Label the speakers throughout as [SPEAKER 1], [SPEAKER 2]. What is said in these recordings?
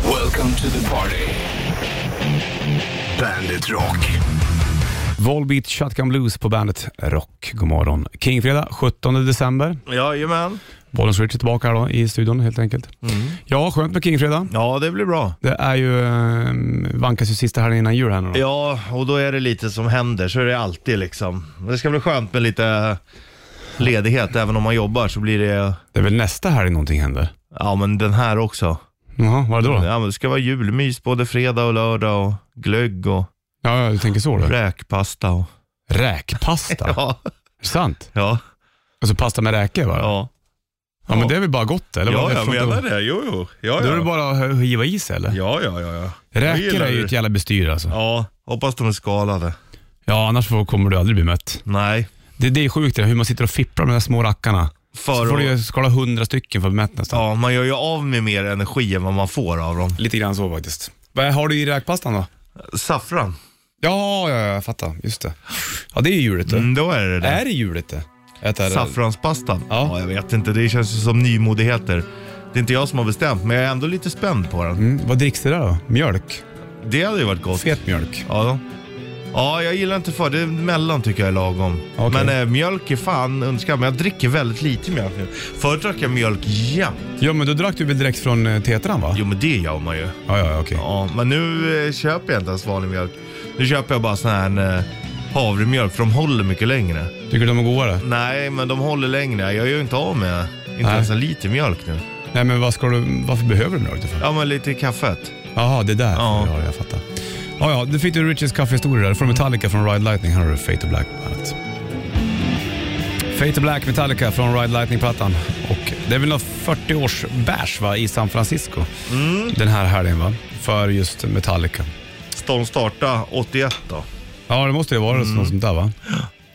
[SPEAKER 1] Welcome to the party. Bandit Rock.
[SPEAKER 2] Volbeat Shotgun Blues på bandet Rock. God morgon. Kingfredag 17 december.
[SPEAKER 3] Jajamän.
[SPEAKER 2] Bollens Richie tillbaka här då i studion helt enkelt.
[SPEAKER 3] Mm.
[SPEAKER 2] Ja, skönt med Kingfredag.
[SPEAKER 3] Ja, det blir bra.
[SPEAKER 2] Det är ju, eh, vankas ju sista här innan jul här nu då.
[SPEAKER 3] Ja, och då är det lite som händer, så är det alltid liksom. Det ska bli skönt med lite ledighet, även om man jobbar så blir det,
[SPEAKER 2] Det är väl nästa helg någonting händer?
[SPEAKER 3] ja men den här också.
[SPEAKER 2] Jaha, vad är det då?
[SPEAKER 3] Ja, men det ska vara julmys både fredag och lördag och glögg och
[SPEAKER 2] Ja, ja, du tänker så du.
[SPEAKER 3] räkpasta och...
[SPEAKER 2] Räkpasta? Är
[SPEAKER 3] Ja,
[SPEAKER 2] det sant?
[SPEAKER 3] ja,
[SPEAKER 2] Alltså pasta med räkor va? Ja.
[SPEAKER 3] ja.
[SPEAKER 2] men det är väl bara gott eller?
[SPEAKER 3] Ja,
[SPEAKER 2] Vad-
[SPEAKER 3] jag
[SPEAKER 2] förstår inte-
[SPEAKER 3] menar det. Jo, jo. Ja,
[SPEAKER 2] Då är det
[SPEAKER 3] ja.
[SPEAKER 2] bara att hö- hiva i sig eller?
[SPEAKER 3] Ja, ja, ja. ja. Jag
[SPEAKER 2] Räkor
[SPEAKER 3] gillar
[SPEAKER 2] är ju
[SPEAKER 3] det.
[SPEAKER 2] ett jävla bestyr alltså. Ja,
[SPEAKER 3] Ja, hoppas de är skalade.
[SPEAKER 2] annars får- kommer du aldrig bli mätt.
[SPEAKER 3] Nej.
[SPEAKER 2] Det, det är sjukt det hur man sitter och fipplar med de här små rackarna. Så får
[SPEAKER 3] För
[SPEAKER 2] du ju
[SPEAKER 3] att,
[SPEAKER 2] skala hundra stycken för att bli mätt nästan.
[SPEAKER 3] ja, man gör ju av med mer energi än vad man får av dem.
[SPEAKER 2] Lite grann så faktiskt. Vad har du i räkpastan då?
[SPEAKER 3] Saffran.
[SPEAKER 2] Ja, ja, ja, jag fattar. Just det. Ja, det är ju julet det.
[SPEAKER 3] Mm, då är det det.
[SPEAKER 2] Är det julet det? Äta det?
[SPEAKER 3] Saffranspastan?
[SPEAKER 2] Ja.
[SPEAKER 3] Ja. jag vet inte. Det känns ju som nymodigheter. Det är inte jag som har bestämt, men jag är ändå lite spänd på den.
[SPEAKER 2] Mm, vad dricks det där då? Mjölk?
[SPEAKER 3] Det hade ju varit gott.
[SPEAKER 2] Fet mjölk?
[SPEAKER 3] Ja. ja, jag gillar inte för det. Mellan tycker jag är lagom.
[SPEAKER 2] Okej.
[SPEAKER 3] Men eh, mjölk är fan underskattat. Men jag dricker väldigt lite mjölk nu. Förut drack jag mjölk jämt.
[SPEAKER 2] Ja, men då drack du väl direkt från eh, tetran va?
[SPEAKER 3] Jo, men det gör man ju.
[SPEAKER 2] Ja, ja, ja, okej.
[SPEAKER 3] Ja, men nu eh, köper jag inte ens vanlig mjölk. Nu köper jag bara sån här eh, havremjölk, för de håller mycket längre.
[SPEAKER 2] Tycker du de är godare?
[SPEAKER 3] Nej, men de håller längre. Jag gör ju inte av med inte
[SPEAKER 2] Nej.
[SPEAKER 3] ens en liter mjölk nu.
[SPEAKER 2] Nej, men vad ska du, varför behöver du mjölk då för?
[SPEAKER 3] Ja, men lite i kaffet.
[SPEAKER 2] Jaha, det där. Ja.
[SPEAKER 3] Ja. Mm.
[SPEAKER 2] ja, jag fattar. Ja, ja, du fick du Richies kaffehistoria där. Från Metallica, från Ride Lightning. Här har du Fate to Black bland annat. Fate to Black, Metallica från Ride Lightning-plattan. Och det är väl någon 40-års bash va, i San Francisco
[SPEAKER 3] Mm.
[SPEAKER 2] den här helgen va? För just Metallica.
[SPEAKER 3] De startade 81 då.
[SPEAKER 2] Ja, det måste ju vara något sånt där va?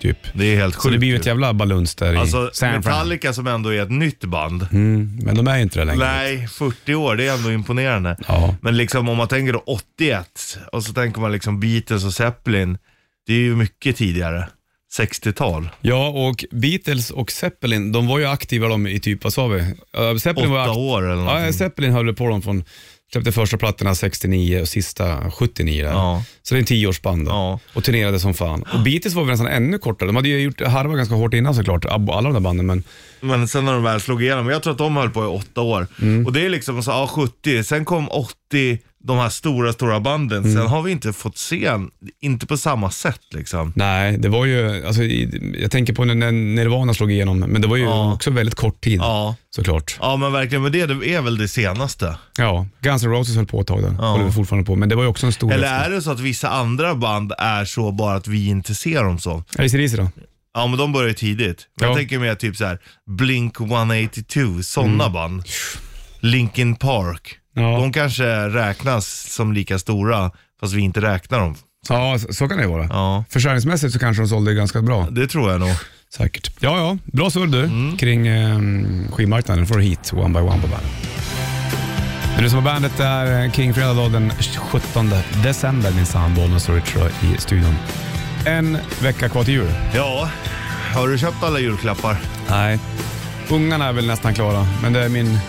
[SPEAKER 2] Typ.
[SPEAKER 3] Det är helt
[SPEAKER 2] Så
[SPEAKER 3] Mm. sjukt.
[SPEAKER 2] det blir ju
[SPEAKER 3] ju.
[SPEAKER 2] ett jävla baluns där i
[SPEAKER 3] Alltså
[SPEAKER 2] San Fran.
[SPEAKER 3] Metallica som ändå är ett nytt band.
[SPEAKER 2] Mm, men de är ju inte det längre.
[SPEAKER 3] Nej, 40 år, det är ändå imponerande.
[SPEAKER 2] Ja.
[SPEAKER 3] Men liksom om man tänker då 81 och så tänker man liksom Beatles och Zeppelin. Det är ju mycket tidigare. 60-tal.
[SPEAKER 2] Ja, och Beatles och Zeppelin, de var ju aktiva de i typ, vad sa vi? Eh, Zeppelin var
[SPEAKER 3] Åtta
[SPEAKER 2] aktiva.
[SPEAKER 3] år eller
[SPEAKER 2] Ja,
[SPEAKER 3] någonting.
[SPEAKER 2] Zeppelin höll på dem från, släppte första plattorna 69 och sista 79 där.
[SPEAKER 3] Ja.
[SPEAKER 2] Så det är en tioårsband då.
[SPEAKER 3] Ja.
[SPEAKER 2] Och turnerade som fan. Och Beatles var väl nästan ännu kortare. De hade ju gjort harva ganska hårt innan såklart, ab- alla de där banden. Men
[SPEAKER 3] Men sen när de väl slog igenom, jag tror att de höll på i åtta år.
[SPEAKER 2] Mm.
[SPEAKER 3] Och det är liksom så, ja 70, sen kom 80, de här stora, stora banden.
[SPEAKER 2] Mm.
[SPEAKER 3] Sen har vi inte fått se, en- inte på samma sätt liksom.
[SPEAKER 2] nej, det var ju, alltså, i- jag tänker på när- när Nirvana slog igenom, men det var ju
[SPEAKER 3] Ja.
[SPEAKER 2] också väldigt kort tid
[SPEAKER 3] Ja.
[SPEAKER 2] såklart.
[SPEAKER 3] Ja men verkligen, men det är väl det senaste.
[SPEAKER 2] Ja, Guns N' Roses höll på ett tag där,
[SPEAKER 3] Ja.
[SPEAKER 2] håller vi fortfarande på, men det var ju också en stor...
[SPEAKER 3] Eller är det så att vissa andra band är så bara att vi inte ser dem så?
[SPEAKER 2] AC/DC då?
[SPEAKER 3] Ja men de börjar ju tidigt.
[SPEAKER 2] Ja.
[SPEAKER 3] Men Jag tänker mer typ så här: Blink 182, sådana band. Linkin Park.
[SPEAKER 2] Mm. Ja.
[SPEAKER 3] De kanske räknas som lika stora, fast vi inte räknar dem.
[SPEAKER 2] Ja, så- så kan det ju vara.
[SPEAKER 3] Ja,
[SPEAKER 2] Försörjningsmässigt så kanske de sålde ganska bra.
[SPEAKER 3] det tror jag nog.
[SPEAKER 2] Säkert. Ja, ja. Bra surr du kring eh, skivmarknaden. får du hit One by One på bandet. Men du som har bandet är eh, King Fredag då, den 17 december minsann. Bollnäs och Richard i studion. En vecka kvar till jul.
[SPEAKER 3] Ja, har du köpt alla julklappar?
[SPEAKER 2] Nej. Ungarna är väl nästan klara, men det är min,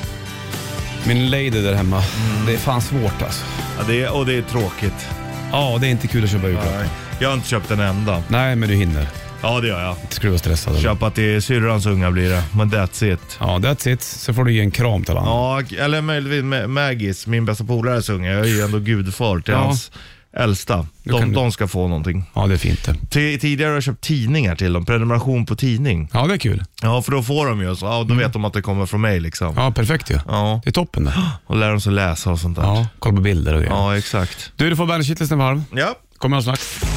[SPEAKER 2] min lady där hemma. Det är fan svårt alltså.
[SPEAKER 3] Ja, det är, och det är tråkigt.
[SPEAKER 2] Ja, det är inte kul att köpa julklappar. Nej.
[SPEAKER 3] Jag har inte köpt en enda.
[SPEAKER 2] men du hinner.
[SPEAKER 3] Ja, det gör jag.
[SPEAKER 2] Inte skulle vara stressad. eller?
[SPEAKER 3] Köpa till syrrans unga blir det, men that's it.
[SPEAKER 2] Ja, that's it. Så får du ge en kram till alla andra.
[SPEAKER 3] Ja, eller möjligtvis Ma- Maggis, min bästa polares unge. Jag är ju ändå gudfar till
[SPEAKER 2] Ja.
[SPEAKER 3] hans äldsta.
[SPEAKER 2] kan
[SPEAKER 3] De,
[SPEAKER 2] du-
[SPEAKER 3] de ska få någonting.
[SPEAKER 2] Ja, det är fint det.
[SPEAKER 3] Ti- Tidigare har jag köpt tidningar till dem, prenumeration på tidning.
[SPEAKER 2] Ja, det är kul.
[SPEAKER 3] Ja, för då får de ju, så, ja, då vet de att det kommer från mig liksom.
[SPEAKER 2] Mm. Ja, perfekt ju.
[SPEAKER 3] Ja,
[SPEAKER 2] Det är toppen det.
[SPEAKER 3] och lär dem sig läsa och sånt där. Ja,
[SPEAKER 2] Ja, kolla på bilder och grejer.
[SPEAKER 3] exakt.
[SPEAKER 2] Du, du får bandet Shitlisten på halv.
[SPEAKER 3] Ja.
[SPEAKER 2] Kommer alldeles strax.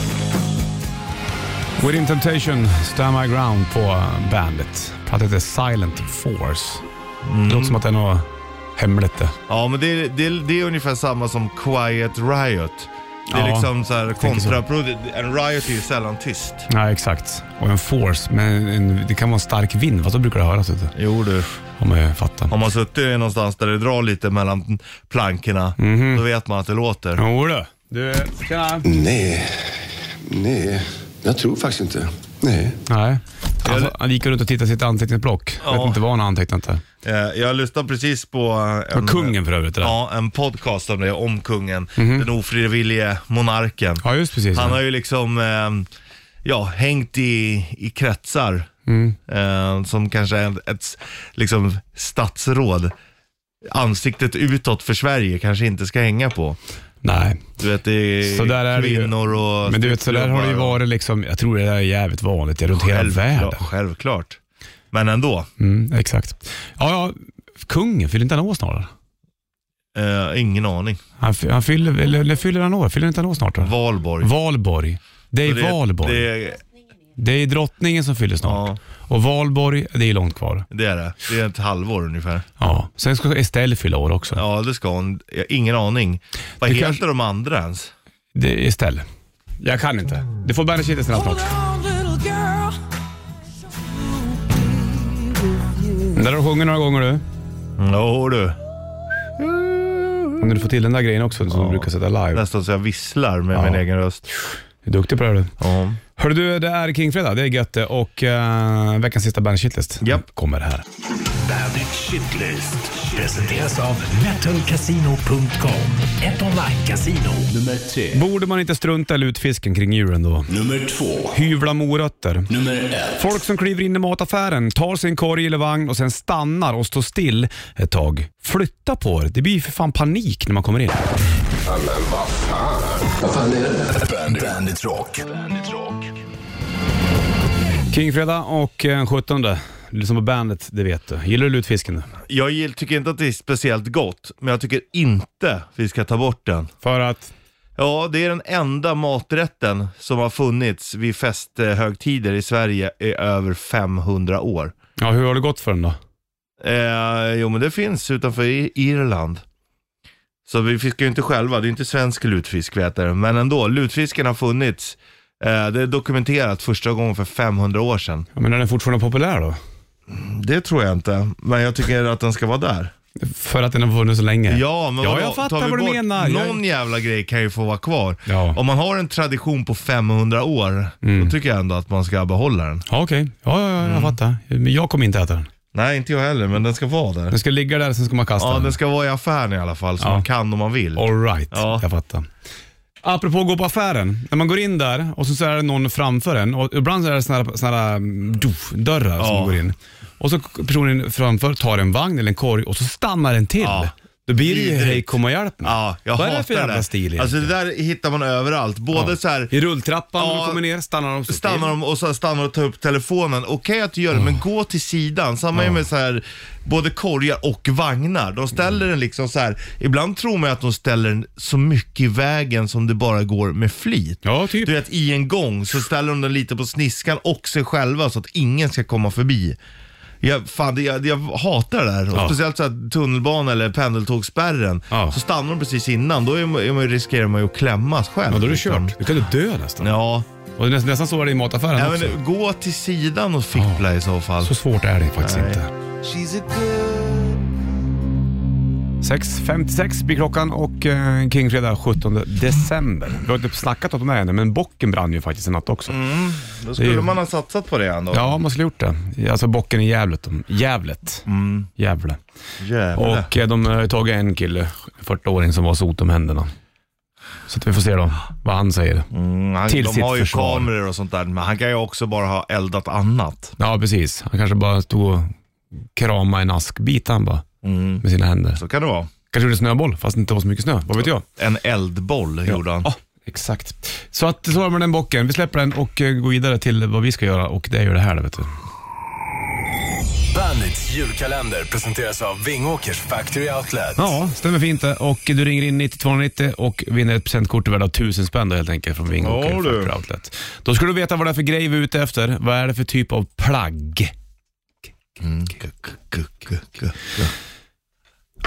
[SPEAKER 2] Within Temptation, Stand My Ground på eh, bandet. Plattan heter Silent Force. Det låter som att det är något hemligt det.
[SPEAKER 3] Ja, men det, det, det är ungefär samma som Quiet Riot. Det är
[SPEAKER 2] Ja,
[SPEAKER 3] liksom så här
[SPEAKER 2] tänker så.
[SPEAKER 3] kontraproduktivt. En riot är ju sällan tyst.
[SPEAKER 2] Ja, exakt. Och en force, men en, det kan vara en stark vind. Fast då brukar det höras vet du.
[SPEAKER 3] Jo du.
[SPEAKER 2] Om jag fattar.
[SPEAKER 3] Om man suttit någonstans där det drar lite mellan plankorna,
[SPEAKER 2] Mhm.
[SPEAKER 3] då vet man att det låter.
[SPEAKER 2] Jo du. Du, tjena.
[SPEAKER 4] Nej, nej, jag tror faktiskt inte. Nej.
[SPEAKER 2] Nej. Alltså, han gick runt och tittade i sitt anteckningsblock. Vet inte vad han har antecknat där.
[SPEAKER 3] Eh, Jag lyssnade precis på eh, en,
[SPEAKER 2] Och kungen för övrigt. Det där. Ja.
[SPEAKER 3] Ja, en podcast om det, om kungen. Den ofrivillige monarken.
[SPEAKER 2] ja, just precis.
[SPEAKER 3] Han
[SPEAKER 2] ja.
[SPEAKER 3] har ju liksom eh, ja, hängt i, i kretsar
[SPEAKER 2] Mm.
[SPEAKER 3] eh, som kanske är ett, ett liksom, statsråd. Ansiktet utåt för Sverige kanske inte ska hänga på.
[SPEAKER 2] Nej.
[SPEAKER 3] Du vet, det är
[SPEAKER 2] Så där är det ju.
[SPEAKER 3] kvinnor och...
[SPEAKER 2] Men du vet, så där har det ju varit liksom, jag tror det där är jävligt vanligt ja, runt hela världen.
[SPEAKER 3] Självklart, självklart. Men ändå,
[SPEAKER 2] Mm, exakt. Ja, ja, kungen, fyller inte han år snarare?
[SPEAKER 3] eh, ingen aning.
[SPEAKER 2] Han, fy- han fyller, eller, eller fyller han år? Fyller inte han år snart? Då?
[SPEAKER 3] Valborg.
[SPEAKER 2] Valborg. Det är
[SPEAKER 3] Det-
[SPEAKER 2] valborg. Det,
[SPEAKER 3] Det,
[SPEAKER 2] är drottningen som fyller snart.
[SPEAKER 3] ja,
[SPEAKER 2] Och valborg, det är långt kvar.
[SPEAKER 3] det är det. Det är ett halvår ungefär.
[SPEAKER 2] Ja. Sen ska Estelle fylla år också.
[SPEAKER 3] Ja, det ska hon. Jag har Ingen aning. Vad
[SPEAKER 2] Det
[SPEAKER 3] heter
[SPEAKER 2] kanske-
[SPEAKER 3] de andra ens?
[SPEAKER 2] Det är Estelle. Jag kan inte. Du får Bandit Kitty snart också. Den där har du sjungit några gånger du.
[SPEAKER 3] Jo du.
[SPEAKER 2] Om du får till den där grejen också som du brukar sätta live.
[SPEAKER 3] Nästan så jag visslar med min egen röst.
[SPEAKER 2] Du är duktig på det här, du.
[SPEAKER 3] Ja.
[SPEAKER 2] Hörru du, det är Kingfredag. Det är gött det. och eh, veckans sista Bandit Shitlist
[SPEAKER 3] Japp.
[SPEAKER 2] kommer här.
[SPEAKER 1] Bandit Shitlist presenteras av metalcasino.com. Ett online-casino.
[SPEAKER 5] Nummer tre.
[SPEAKER 2] Borde man inte strunta i lutfisken kring djuren då?
[SPEAKER 5] Nummer två.
[SPEAKER 2] Hyvla morötter.
[SPEAKER 5] Nummer ett.
[SPEAKER 2] Folk som kliver in i mataffären, tar sin korg eller vagn och sen stannar och står still ett tag. Flytta på er. Det blir ju för fan panik när man kommer in.
[SPEAKER 5] Bandit, Bandit Rock. Bandit Rock.
[SPEAKER 2] Kingfredag och eh, 17. Du lyssnar på bandet, det vet du. Gillar du lutfisken? du?
[SPEAKER 3] Jag gill- tycker inte att det är speciellt gott, men jag tycker inte vi ska ta bort den.
[SPEAKER 2] För att...
[SPEAKER 3] Ja, det är den enda maträtten som har funnits vid festhögtider i Sverige i över 500 år.
[SPEAKER 2] Ja, hur har det gått för den då?
[SPEAKER 3] Eh, jo, men det finns utanför I- Irland. Så vi fiskar ju inte själva, det är inte svensk lutfisk vet jag. Men ändå, lutfisken har funnits. Eh, det är dokumenterat första gången för 500 år sedan.
[SPEAKER 2] Ja, men är den fortfarande populär då?
[SPEAKER 3] Det tror jag inte, men jag tycker att den ska vara där.
[SPEAKER 2] För att den har funnits så länge?
[SPEAKER 3] Ja, men
[SPEAKER 2] ja,
[SPEAKER 3] vadå?
[SPEAKER 2] jag
[SPEAKER 3] Tar
[SPEAKER 2] fattar
[SPEAKER 3] vi
[SPEAKER 2] vad du
[SPEAKER 3] bort
[SPEAKER 2] menar.
[SPEAKER 3] Någon
[SPEAKER 2] Jag...
[SPEAKER 3] jävla grej kan ju få vara kvar.
[SPEAKER 2] Ja. Mm.
[SPEAKER 3] Om man har en tradition på 500 år, då tycker jag ändå att man ska behålla den.
[SPEAKER 2] Ja, okej. Ja, ja, ja, jag
[SPEAKER 3] Mm.
[SPEAKER 2] fattar. Men jag kommer inte äta den.
[SPEAKER 3] Nej, inte jag heller, men den ska vara där.
[SPEAKER 2] Den ska ligga där, sen ska man kasta
[SPEAKER 3] Ja,
[SPEAKER 2] den.
[SPEAKER 3] den ska vara i affären i alla fall, så
[SPEAKER 2] Ja.
[SPEAKER 3] man kan om man vill.
[SPEAKER 2] All right,
[SPEAKER 3] Ja.
[SPEAKER 2] jag fattar. Apropå att gå på affären, när man går in där och så, så är det någon framför en och ibland så är det såna här, såna här mm, doof, dörrar
[SPEAKER 3] Ja.
[SPEAKER 2] som går in. Och så personen framför tar en vagn eller en korg och så stannar den till.
[SPEAKER 3] Ja.
[SPEAKER 2] Då blir det ju
[SPEAKER 3] Vidrigt.
[SPEAKER 2] hej kom och hjälp mig.
[SPEAKER 3] Ja, jag
[SPEAKER 2] Mm. Vad är
[SPEAKER 3] hatar
[SPEAKER 2] det för jävla stil
[SPEAKER 3] Alltså det där hittar man överallt. Både så här,
[SPEAKER 2] I rulltrappan när
[SPEAKER 3] Ja.
[SPEAKER 2] du kommer ner stannar de så
[SPEAKER 3] stannar de och så stannar och tar upp telefonen. Okej att du gör det, men gå till sidan. Samma är med så här, både korgar och vagnar. De ställer
[SPEAKER 2] Mm.
[SPEAKER 3] den liksom så här. ibland tror man ju att de ställer den så mycket i vägen som det bara går med flit.
[SPEAKER 2] Ja, typ.
[SPEAKER 3] Du vet i en gång så ställer de den lite på sniskan och sig själva så att ingen ska komma förbi. Jag, fan, det, jag, jag hatar det där. Och
[SPEAKER 2] Ja.
[SPEAKER 3] Speciellt så här, tunnelbana eller pendeltågsspärren.
[SPEAKER 2] Ja.
[SPEAKER 3] Så stannar de precis innan, då är man, är man, riskerar man ju att klämmas själv.
[SPEAKER 2] Ja, då är det
[SPEAKER 3] liksom.
[SPEAKER 2] kört. Du kan du dö nästan.
[SPEAKER 3] Ja,
[SPEAKER 2] Och det är nästan, nästan så var det i mataffären
[SPEAKER 3] Ja,
[SPEAKER 2] också.
[SPEAKER 3] men gå till sidan och fippla i så fall.
[SPEAKER 2] Så svårt är det faktiskt
[SPEAKER 3] Nej.
[SPEAKER 2] inte. 6.56 blir klockan och eh, Kingfredag 17 december. Vi har inte snackat om det här ännu, men bocken brann ju faktiskt en natt också.
[SPEAKER 3] Mm. Då
[SPEAKER 2] det är ju-
[SPEAKER 3] skulle man ha satsat på det ändå.
[SPEAKER 2] Ja, man skulle ha gjort det. Alltså bocken i Gävlet. de- Gävlet. Mm. Gävle.
[SPEAKER 3] Jävlar.
[SPEAKER 2] Och eh, de har tagit en kille, 40-åring, som var sot om händerna. Så att vi får se då vad han säger.
[SPEAKER 3] Mm, han,
[SPEAKER 2] till
[SPEAKER 3] de
[SPEAKER 2] sitt
[SPEAKER 3] har ju
[SPEAKER 2] försvar.
[SPEAKER 3] kameror och sånt där, men han kan ju också bara ha eldat annat.
[SPEAKER 2] Ja, precis. Han kanske bara stod och kramade en askbit han bara,
[SPEAKER 3] Mm.
[SPEAKER 2] med sina händer.
[SPEAKER 3] Så kan det vara.
[SPEAKER 2] Kanske gjorde snöboll, fast det inte var så mycket snö. Vad vet jag?
[SPEAKER 3] En eldboll gjorde han.
[SPEAKER 2] Ja, exakt. Så att så var det med den bocken. Vi släpper den och eh, går vidare till vad vi ska göra och det är ju det här. Vet du.
[SPEAKER 1] Bandits julkalender presenteras av Vingåkers Factory Outlet.
[SPEAKER 2] Ja, stämmer fint det. Och du ringer in 9290 och vinner ett presentkort värde av 1000 spänn då, helt enkelt från Vingåker
[SPEAKER 3] Ja, du.
[SPEAKER 2] Factory Outlet. Då ska du veta vad det är för grej vi är ute efter. Vad är det för typ av plagg?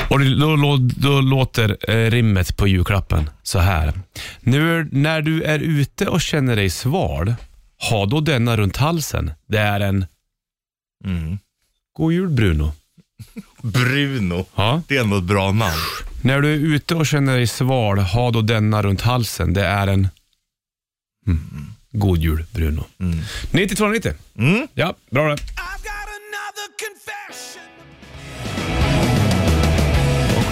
[SPEAKER 2] Och det- då, då, då låter eh, rimmet på julklappen så här. Nu, är- när du är ute och känner dig sval, ha då denna runt halsen. Det är en...
[SPEAKER 3] Mm.
[SPEAKER 2] God jul Bruno.
[SPEAKER 3] Bruno.
[SPEAKER 2] Ja.
[SPEAKER 3] Det är ändå ett bra namn.
[SPEAKER 2] När du är ute och känner dig sval, ha då denna runt halsen. Det är en... Mm. God jul, Bruno. Mm. 9290.
[SPEAKER 3] Mm.
[SPEAKER 2] Ja, bra det.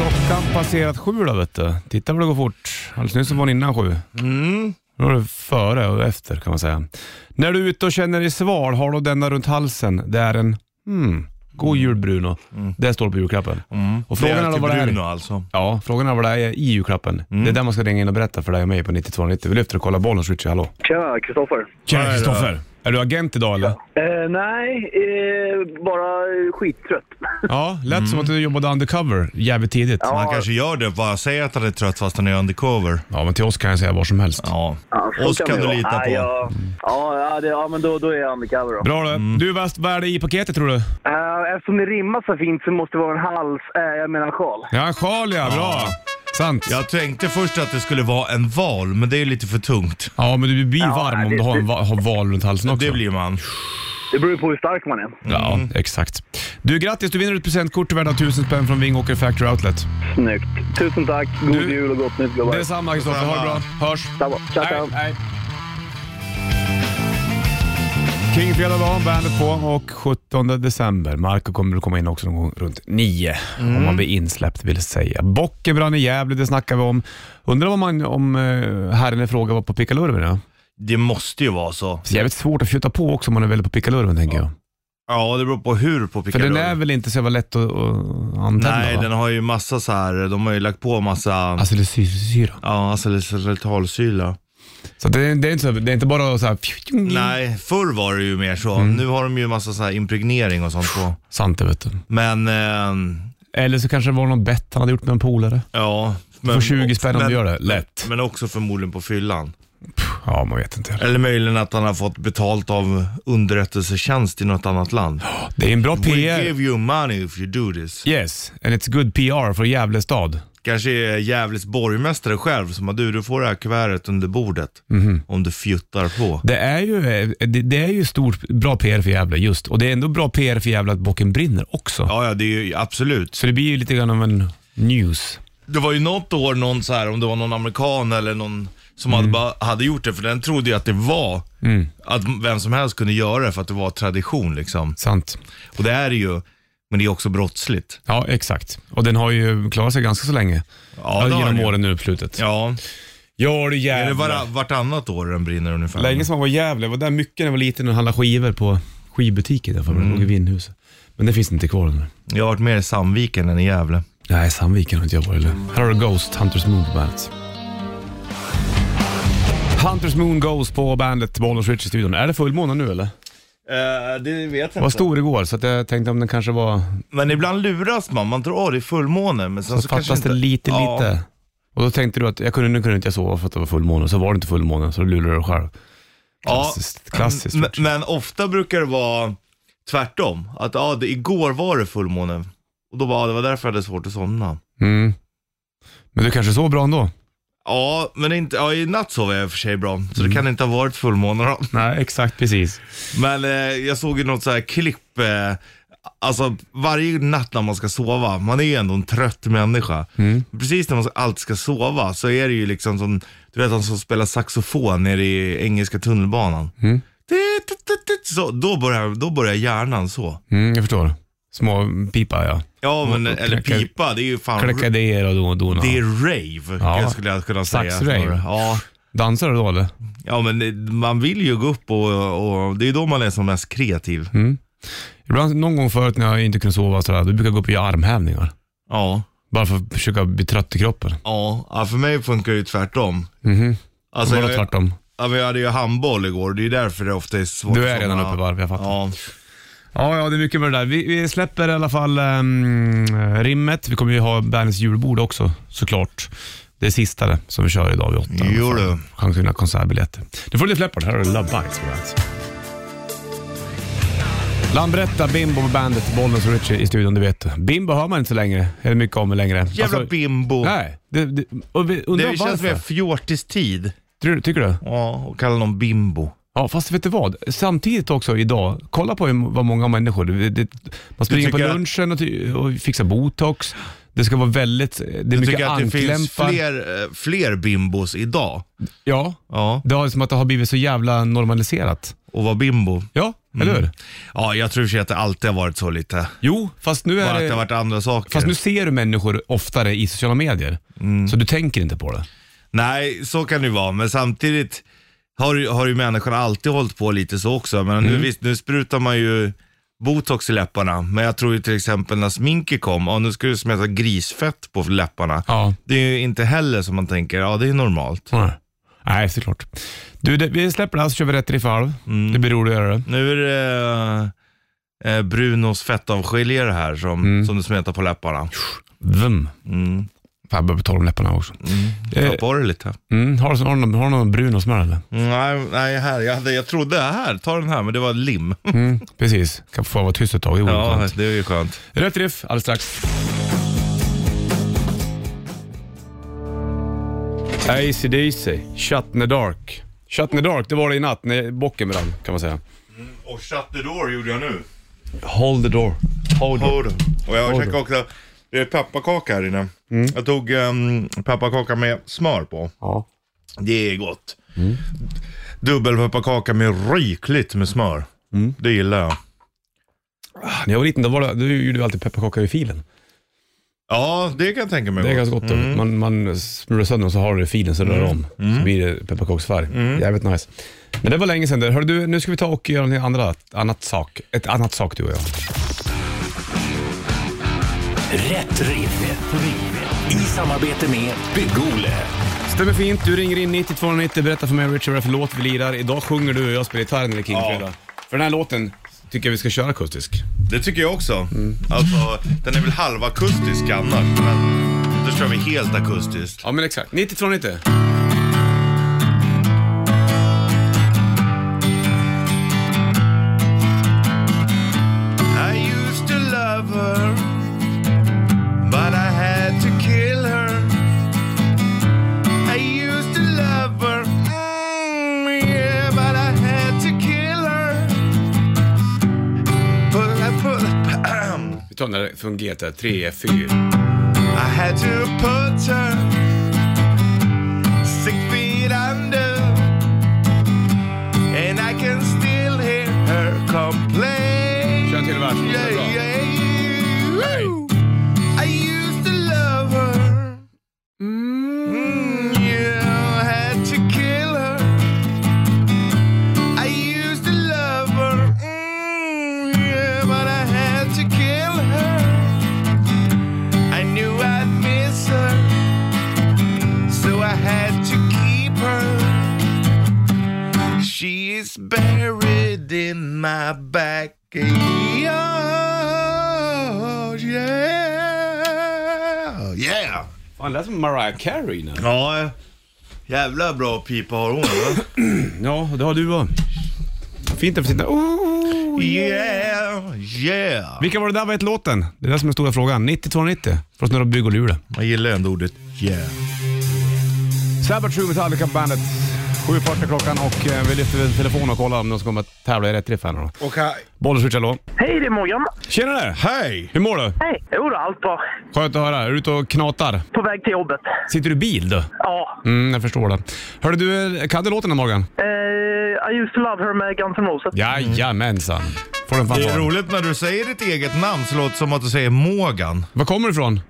[SPEAKER 2] nästan passerat sju då vet du. Titta vad det går fort. Alldeles nyss så var hon innan sju. Nu var det före och efter kan man säga. När du är ute och känner dig sval, har du denna runt halsen. Det är en hmm, god jul Bruno. Det står på julklappen. Och frågan är, då vad Mm. det är.
[SPEAKER 3] Bruno alltså.
[SPEAKER 2] Ja, frågan är vad det är i julklappen. Det är där man ska ringa in och berätta för dig och mig på 9290. Vi lyfter och kollar bollen Richie, hallå.
[SPEAKER 6] Tja, Kristoffer.
[SPEAKER 2] Tjena
[SPEAKER 3] Kristoffer.
[SPEAKER 2] Är du agent idag eller?
[SPEAKER 6] Eh, nej, eh, bara skittrött.
[SPEAKER 2] Ja, lät som att du jobbade undercover jävligt tidigt.
[SPEAKER 3] Han kanske gör det, bara säger att han är trött fast han är undercover.
[SPEAKER 2] Ja, men till oss kan jag säga vad som helst.
[SPEAKER 3] Ja.
[SPEAKER 6] Ja, så
[SPEAKER 3] Oss kan
[SPEAKER 6] det
[SPEAKER 3] du
[SPEAKER 6] vara.
[SPEAKER 3] lita
[SPEAKER 6] Nej,
[SPEAKER 3] på.
[SPEAKER 6] jag- Ja, ja, det, ja, men då, då är jag undercover då.
[SPEAKER 2] Bra du. Du, vad vad är det i paketet tror du?
[SPEAKER 6] Eh, eftersom ni rimmar så fint så måste det vara en hals, eh, jag menar en sjal.
[SPEAKER 2] Ja, en sjal ja. Bra. Sant. Ja.
[SPEAKER 3] Jag tänkte först att det skulle vara en val, men det är lite för tungt.
[SPEAKER 2] men du blir
[SPEAKER 6] Ja,
[SPEAKER 2] varm om
[SPEAKER 6] det-
[SPEAKER 2] du har en va- har val runt halsen också.
[SPEAKER 3] Det blir man.
[SPEAKER 6] Det beror ju på hur stark man är.
[SPEAKER 2] Ja, exakt. Du, grattis. Du vinner ett presentkort värda 1000 spänn från Vingåker Factory Outlet.
[SPEAKER 6] Snyggt. Tusen tack, god
[SPEAKER 2] Du-
[SPEAKER 6] jul och gott nytt gubbar.
[SPEAKER 2] Detsamma Kristoffer. Ha det bra. Hörs.
[SPEAKER 6] Detsamma. Tja,
[SPEAKER 2] Hej,
[SPEAKER 6] tja.
[SPEAKER 2] hej. King fredag dag, bandet på och 17 december. Marco kommer att komma in också någon gång runt nio
[SPEAKER 3] Mm.
[SPEAKER 2] om man blir insläppt vill säga. Bocken brann i Gävle, det snackar vi om. Undrar om, man, om eh, herren i fråga var på pickalurven? Ja?
[SPEAKER 3] Det måste ju vara så.
[SPEAKER 2] Det är jävligt svårt att fjuta på också om man är väl på pickalurven tänker jag.
[SPEAKER 3] Ja, det beror på hur på
[SPEAKER 2] För den
[SPEAKER 3] Piccadilly.
[SPEAKER 2] är väl inte så jävla lätt att, att antända?
[SPEAKER 3] Nej,
[SPEAKER 2] va?
[SPEAKER 3] den har ju massa så här. de har ju lagt på massa,
[SPEAKER 2] Alltså Mm. det är sy- syra.
[SPEAKER 3] ja, acetylsalicylsyra.
[SPEAKER 2] Så det är, det, är inte så, det är inte bara så här...
[SPEAKER 3] Nej, förr var det ju mer så.
[SPEAKER 2] Mm.
[SPEAKER 3] Nu har de ju massa så här impregnering och sånt på.
[SPEAKER 2] Sant det vet du.
[SPEAKER 3] Men, ehm,
[SPEAKER 2] Eller så kanske det var någon bett han hade gjort med en polare.
[SPEAKER 3] ja. Men,
[SPEAKER 2] Får 20 spänn om
[SPEAKER 3] men-
[SPEAKER 2] du gör det. Lätt.
[SPEAKER 3] Men också förmodligen på fyllan.
[SPEAKER 2] Ja, man vet inte.
[SPEAKER 3] Eller möjligen att han har fått betalt av underrättelsetjänst i något annat land.
[SPEAKER 2] Det är en bra
[SPEAKER 3] We
[SPEAKER 2] PR.
[SPEAKER 3] give you money if you do this.
[SPEAKER 2] Yes, and it's good PR för Gävle stad.
[SPEAKER 3] Kanske är Gävles borgmästare själv som har du, du får det här kuvertet under bordet.
[SPEAKER 2] Mhm.
[SPEAKER 3] Om du fjuttar på.
[SPEAKER 2] Det är ju, eh, det, det är ju stort, bra PR för Gävle just. Och det är ändå bra PR för Gävle att bocken brinner också.
[SPEAKER 3] Ja, ja, det är ju absolut.
[SPEAKER 2] Så det blir ju lite grann av en news.
[SPEAKER 3] Det var ju något år någon så här, om det var någon amerikan eller någon som
[SPEAKER 2] Mm.
[SPEAKER 3] hade, bara, hade gjort det, för den trodde ju att det var, att vem som helst kunde göra det för att det var tradition liksom.
[SPEAKER 2] Sant.
[SPEAKER 3] Och det är det ju, men det är också brottsligt.
[SPEAKER 2] Ja, exakt. Och den har ju klarat sig ganska så länge.
[SPEAKER 3] Ja, det har den
[SPEAKER 2] genom
[SPEAKER 3] ju.
[SPEAKER 2] åren nu uppslutet.
[SPEAKER 3] Ja,
[SPEAKER 2] ja du
[SPEAKER 3] är det
[SPEAKER 2] jävlar.
[SPEAKER 3] var, vartannat år den brinner ungefär?
[SPEAKER 2] Länge som man var i Gävle, var där mycket när jag var liten och handlade skivor på skivbutiken där för mm. låg i Vindhuset. Men det finns inte kvar nu.
[SPEAKER 3] Jag har varit mer i Sandviken än i Gävle.
[SPEAKER 2] Nej, Sandviken har inte jag varit. eller? Här har du Ghost, Hunters Moon på bandet. Hunters Moon Ghost på bandet, Bollnäs Rich i studion. Är det fullmåne nu eller?
[SPEAKER 3] Eh, det vet
[SPEAKER 2] Det
[SPEAKER 3] jag
[SPEAKER 2] var stor igår, så att jag tänkte om den kanske var...
[SPEAKER 3] Men ibland luras man. Man tror att det är fullmåne, men sen
[SPEAKER 2] Så
[SPEAKER 3] så, kanske
[SPEAKER 2] fattas det lite,
[SPEAKER 3] Ja.
[SPEAKER 2] lite. Och då tänkte du att jag kunde, nu kunde inte jag sova för att det var fullmåne, så var det inte fullmåne, så då lurade du dig själv. Klassiskt, klassiskt.
[SPEAKER 3] Mm, Men,
[SPEAKER 2] Richie.
[SPEAKER 3] men ofta brukar det vara tvärtom. Att ja, det, igår var det fullmåne. Och då bara, ja, det var därför jag hade svårt att somna.
[SPEAKER 2] Mm. Men du kanske sov bra ändå?
[SPEAKER 3] Ja, men inte, ja, i natt sov jag i och för sig bra. Så
[SPEAKER 2] Mm.
[SPEAKER 3] det kan inte ha varit fullmåne då.
[SPEAKER 2] Nej, exakt precis.
[SPEAKER 3] Men eh, jag såg ju något så här klipp. Eh, alltså varje natt när man ska sova, man är ju ändå en trött människa.
[SPEAKER 2] Mm.
[SPEAKER 3] Precis när man alltid ska sova så är det ju liksom som, du vet han som spelar saxofon nere i engelska tunnelbanan.
[SPEAKER 2] Mm.
[SPEAKER 3] Tut, tut, tut, tut. Så, då, börjar, då börjar hjärnan så.
[SPEAKER 2] Mm, jag förstår. Små pipa ja.
[SPEAKER 3] Ja, men,
[SPEAKER 2] Mm. Och- och
[SPEAKER 3] eller
[SPEAKER 2] knäcka-
[SPEAKER 3] pipa, det är ju fan,
[SPEAKER 2] Kläcka idéer och då- dona.
[SPEAKER 3] det är rave
[SPEAKER 2] Ja.
[SPEAKER 3] skulle jag kunna säga.
[SPEAKER 2] Sax-rave.
[SPEAKER 3] Ja.
[SPEAKER 2] Dansar du då eller?
[SPEAKER 3] Ja men det- man vill ju gå upp och, och det är då man är som mest kreativ.
[SPEAKER 2] Mm. Ibland, någon gång förut när jag inte kunde sova och sådär, då brukade jag gå upp och göra armhävningar.
[SPEAKER 3] Ja.
[SPEAKER 2] Bara för att försöka bli trött i kroppen.
[SPEAKER 3] Ja, ja, för mig funkar det ju tvärtom. Alltså,
[SPEAKER 2] Bara
[SPEAKER 3] jag,
[SPEAKER 2] Mhm. tvärtom.
[SPEAKER 3] ja, men jag hade ju handboll igår, det är ju därför det ofta är svårt
[SPEAKER 2] Du är
[SPEAKER 3] att
[SPEAKER 2] redan
[SPEAKER 3] somna.
[SPEAKER 2] uppe i varv, jag fattar.
[SPEAKER 3] Ja.
[SPEAKER 2] Ja, ja, det är mycket med det där. Vi, vi släpper i alla fall ehm, rimmet. Vi kommer ju ha bandets julbord också såklart. Det är sista det, som vi kör idag vid åtta.
[SPEAKER 3] Jo du.
[SPEAKER 2] Chans att vinna konsertbiljetter. Nu får du lite Leppard. Här har du Love Bites på bandet. Lambretta, Bimbo på bandet, Bollnäs och Richie i studion, du vet. Bimbo hör man inte så länge, eller mycket om längre.
[SPEAKER 3] Jävla
[SPEAKER 2] Alltså,
[SPEAKER 3] bimbo.
[SPEAKER 2] Nej, det, det, och vi undrar
[SPEAKER 3] det känns
[SPEAKER 2] varför.
[SPEAKER 3] som en fjortistid.
[SPEAKER 2] Tror du- Tycker du?
[SPEAKER 3] Ja, och kalla någon bimbo.
[SPEAKER 2] Ja, fast vet du vad? Samtidigt också idag, kolla på hur- vad många människor... Det, det, man springer på
[SPEAKER 3] tycker att-
[SPEAKER 2] lunchen och, ty- och fixar botox. Det ska vara väldigt... eh, Det är
[SPEAKER 3] Jag
[SPEAKER 2] mycket
[SPEAKER 3] tycker att det finns
[SPEAKER 2] anklämpar.
[SPEAKER 3] fler, eh, fler bimbos idag.
[SPEAKER 2] Ja,
[SPEAKER 3] Ja,
[SPEAKER 2] det har som att det har blivit så jävla normaliserat.
[SPEAKER 3] och vara bimbo.
[SPEAKER 2] Ja, Eller hur?
[SPEAKER 3] Ja, jag tror i och för sig att det alltid har varit så lite.
[SPEAKER 2] Jo, fast nu
[SPEAKER 3] Bara
[SPEAKER 2] är
[SPEAKER 3] att det
[SPEAKER 2] det...
[SPEAKER 3] har varit andra saker.
[SPEAKER 2] Fast nu ser du människor oftare i sociala medier,
[SPEAKER 3] Mm.
[SPEAKER 2] så du tänker inte på det.
[SPEAKER 3] Nej, så kan det ju vara, men samtidigt har, ju- har ju människan alltid hållit på lite så också. Men
[SPEAKER 2] Mm.
[SPEAKER 3] nu, visst, nu sprutar man ju botox i läpparna, men jag tror ju till exempel när sminket kom, ja, nu ska du smeta grisfett på läpparna.
[SPEAKER 2] Ja.
[SPEAKER 3] Det är ju inte heller som man tänker, ja det är normalt.
[SPEAKER 2] Nej, Nej såklart. Du, det, vi släpper det här så kör vi rätt riff halv.
[SPEAKER 3] Mm.
[SPEAKER 2] Det blir roligt att göra det.
[SPEAKER 3] Nu är det eh, eh, Brunos fettavskiljare här som,
[SPEAKER 2] Mm.
[SPEAKER 3] som du smetar på läpparna.
[SPEAKER 2] Vem?
[SPEAKER 3] Mm.
[SPEAKER 2] Fan, jag behöver torra om läpparna också.
[SPEAKER 3] Ta
[SPEAKER 2] Eh,
[SPEAKER 3] på dig lite.
[SPEAKER 2] Mm, har, du, har, du, någon- har du någon brun och smör eller?
[SPEAKER 3] Nej, nej här, jag, hade, jag trodde, här, ta den här, men det var lim.
[SPEAKER 2] Mm, precis. Kan få vara tyst ett tag. Det vore
[SPEAKER 3] ja,
[SPEAKER 2] skönt.
[SPEAKER 3] det är ju skönt.
[SPEAKER 2] Rätt riff alldeles strax. AC DC, Shut in the Dark. Shut in the Dark, det var det i natt när bocken brann kan man säga.
[SPEAKER 3] Och shut the door gjorde jag nu.
[SPEAKER 2] Hold the door. Hold
[SPEAKER 3] Hold on. Och jag
[SPEAKER 2] Hold Mm.
[SPEAKER 3] käkade också, det är pepparkaka här inne. Jag tog um, pepparkaka med smör på.
[SPEAKER 2] Ja. Mm.
[SPEAKER 3] Det är gott. Dubbelpepparkaka med rikligt med smör.
[SPEAKER 2] Mm.
[SPEAKER 3] Det gillar jag.
[SPEAKER 2] När jag var liten då, var det, då gjorde vi alltid pepparkaka i filen.
[SPEAKER 3] Ja, det kan jag tänka mig
[SPEAKER 2] Det är
[SPEAKER 3] gott.
[SPEAKER 2] ganska gott. då. Man, man smular sönder och så har du det i filen så rör du om. Så blir det pepparkaksfärg. Jävligt nice. Men det var länge sedan. det. Hör du, nu ska vi ta och göra något annat, annat sak. Ett annat sak du och jag.
[SPEAKER 5] Rätt riff. Rätt riff. I samarbete med Bygg-Ole.
[SPEAKER 2] Stämmer fint. Du ringer in 9290 berätta för mig Richard vad det är för låt vi lirar. Idag sjunger du och jag spelar gitarr när det är King Fredag. För den här låten tycker jag vi ska köra akustisk.
[SPEAKER 3] Det tycker jag också.
[SPEAKER 2] Mm.
[SPEAKER 3] Alltså, den är väl halvakustisk annars, men då kör vi helt akustiskt.
[SPEAKER 2] Ja men exakt. 9290.
[SPEAKER 3] I used to love her, but I had to kill her. I used to love her, mm, yeah, but I had to kill her. Pull, I pull,
[SPEAKER 2] Vi tar den där från GT. 3, 4.
[SPEAKER 3] I had to put her six feet under, and I can still hear her complain.
[SPEAKER 2] Kör en till vers. Det är bra.
[SPEAKER 3] yeah. Woo. I used to love her. Mm, yeah, I had to kill her. I used to love her. Mm, yeah, but I had to kill her. I knew I'd miss her, so I had to keep her. She is buried in my backyard. Yeah, yeah.
[SPEAKER 2] Fan, det lät som Mariah Carey nu.
[SPEAKER 3] Ja, jävla bra pipa har hon va?
[SPEAKER 2] Ja, det har du också. Fint att få sitta... Oh.
[SPEAKER 3] Yeah, yeah.
[SPEAKER 2] Vilka var det där var ett låten? Det är det som är den stora frågan. 9290 från Snurra Bygg och Luleå.
[SPEAKER 3] Man gillar ändå ordet yeah.
[SPEAKER 2] Sabbath True Metallica Bandet. 7.40 klockan och eh, vi lyfter väl telefonen och kollar om de ska komma att tävla i rätt riff här nu då.
[SPEAKER 3] Okej.
[SPEAKER 2] Bollers hallå.
[SPEAKER 6] Hej, det är Morgan.
[SPEAKER 2] Tjenare!
[SPEAKER 3] Hej!
[SPEAKER 2] Hur mår du?
[SPEAKER 6] Hej. Jo då, allt bra.
[SPEAKER 2] Skönt att höra. Är du ute och knatar?
[SPEAKER 6] På väg till jobbet.
[SPEAKER 2] Sitter du i bil du?
[SPEAKER 6] Ja.
[SPEAKER 2] Mm, jag förstår det. Hörde du, kan du låten den Morgan?
[SPEAKER 6] Eh, I used to love her med Guns N' Roses.
[SPEAKER 2] Jajamensan. Får den
[SPEAKER 3] Det är
[SPEAKER 2] fanfar.
[SPEAKER 3] roligt när du säger ditt eget namn så låter det som att du säger Mågan.
[SPEAKER 2] Var kommer du ifrån?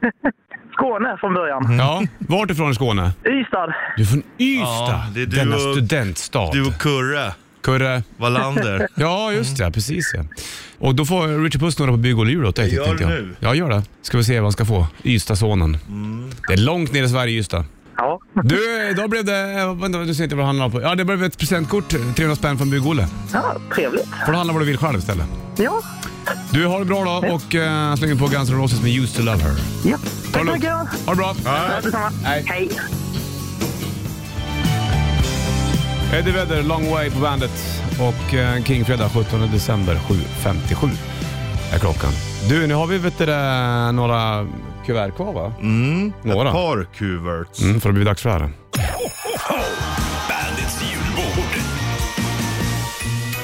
[SPEAKER 6] Skåne från början.
[SPEAKER 2] Ja, vart ifrån i Skåne?
[SPEAKER 3] Mhm.
[SPEAKER 6] Ystad.
[SPEAKER 2] Du är från Ystad.
[SPEAKER 3] Ja, det är du
[SPEAKER 2] Denna
[SPEAKER 3] och-
[SPEAKER 2] studentstad.
[SPEAKER 3] Du och Kurre
[SPEAKER 2] Kurre.
[SPEAKER 3] Wallander.
[SPEAKER 2] Ja, just det. Precis ja. Och då får Richard Puss några på bygg och lur åt dig.
[SPEAKER 3] Gör
[SPEAKER 2] tänkte jag.
[SPEAKER 3] det nu.
[SPEAKER 2] Ja, gör det. Ska vi se vad han ska få. Ystadsonen. Det är långt ner i Sverige, Ystad.
[SPEAKER 6] Ja.
[SPEAKER 2] Du, idag blev det... eh, Vänta, du ser inte vad det handlar om. Ja, det blev ett presentkort. 300 spänn från Bygg-Olle.
[SPEAKER 6] ja trevligt.
[SPEAKER 2] Får du handla vad du vill själv istället.
[SPEAKER 6] Ja.
[SPEAKER 2] Du, har det bra då och uh, slänger på Guns N' Roses med Used to Love Her.
[SPEAKER 6] ja.
[SPEAKER 2] Ta det
[SPEAKER 6] Tack så
[SPEAKER 2] lugnt.
[SPEAKER 6] mycket.
[SPEAKER 2] Ha det bra.
[SPEAKER 6] Ja, detsamma.
[SPEAKER 2] Hej.
[SPEAKER 6] Hej.
[SPEAKER 2] Eddie Vedder, Long Way på bandet och eh, Kingfredag 17 december 7.57 är klockan. Du, nu har vi vet du, det, några kuvert kvar va?
[SPEAKER 3] Mm.
[SPEAKER 2] Några.
[SPEAKER 3] Ett par kuverts.
[SPEAKER 2] Mm, för det blir dags för det här.
[SPEAKER 5] Bandits julbord.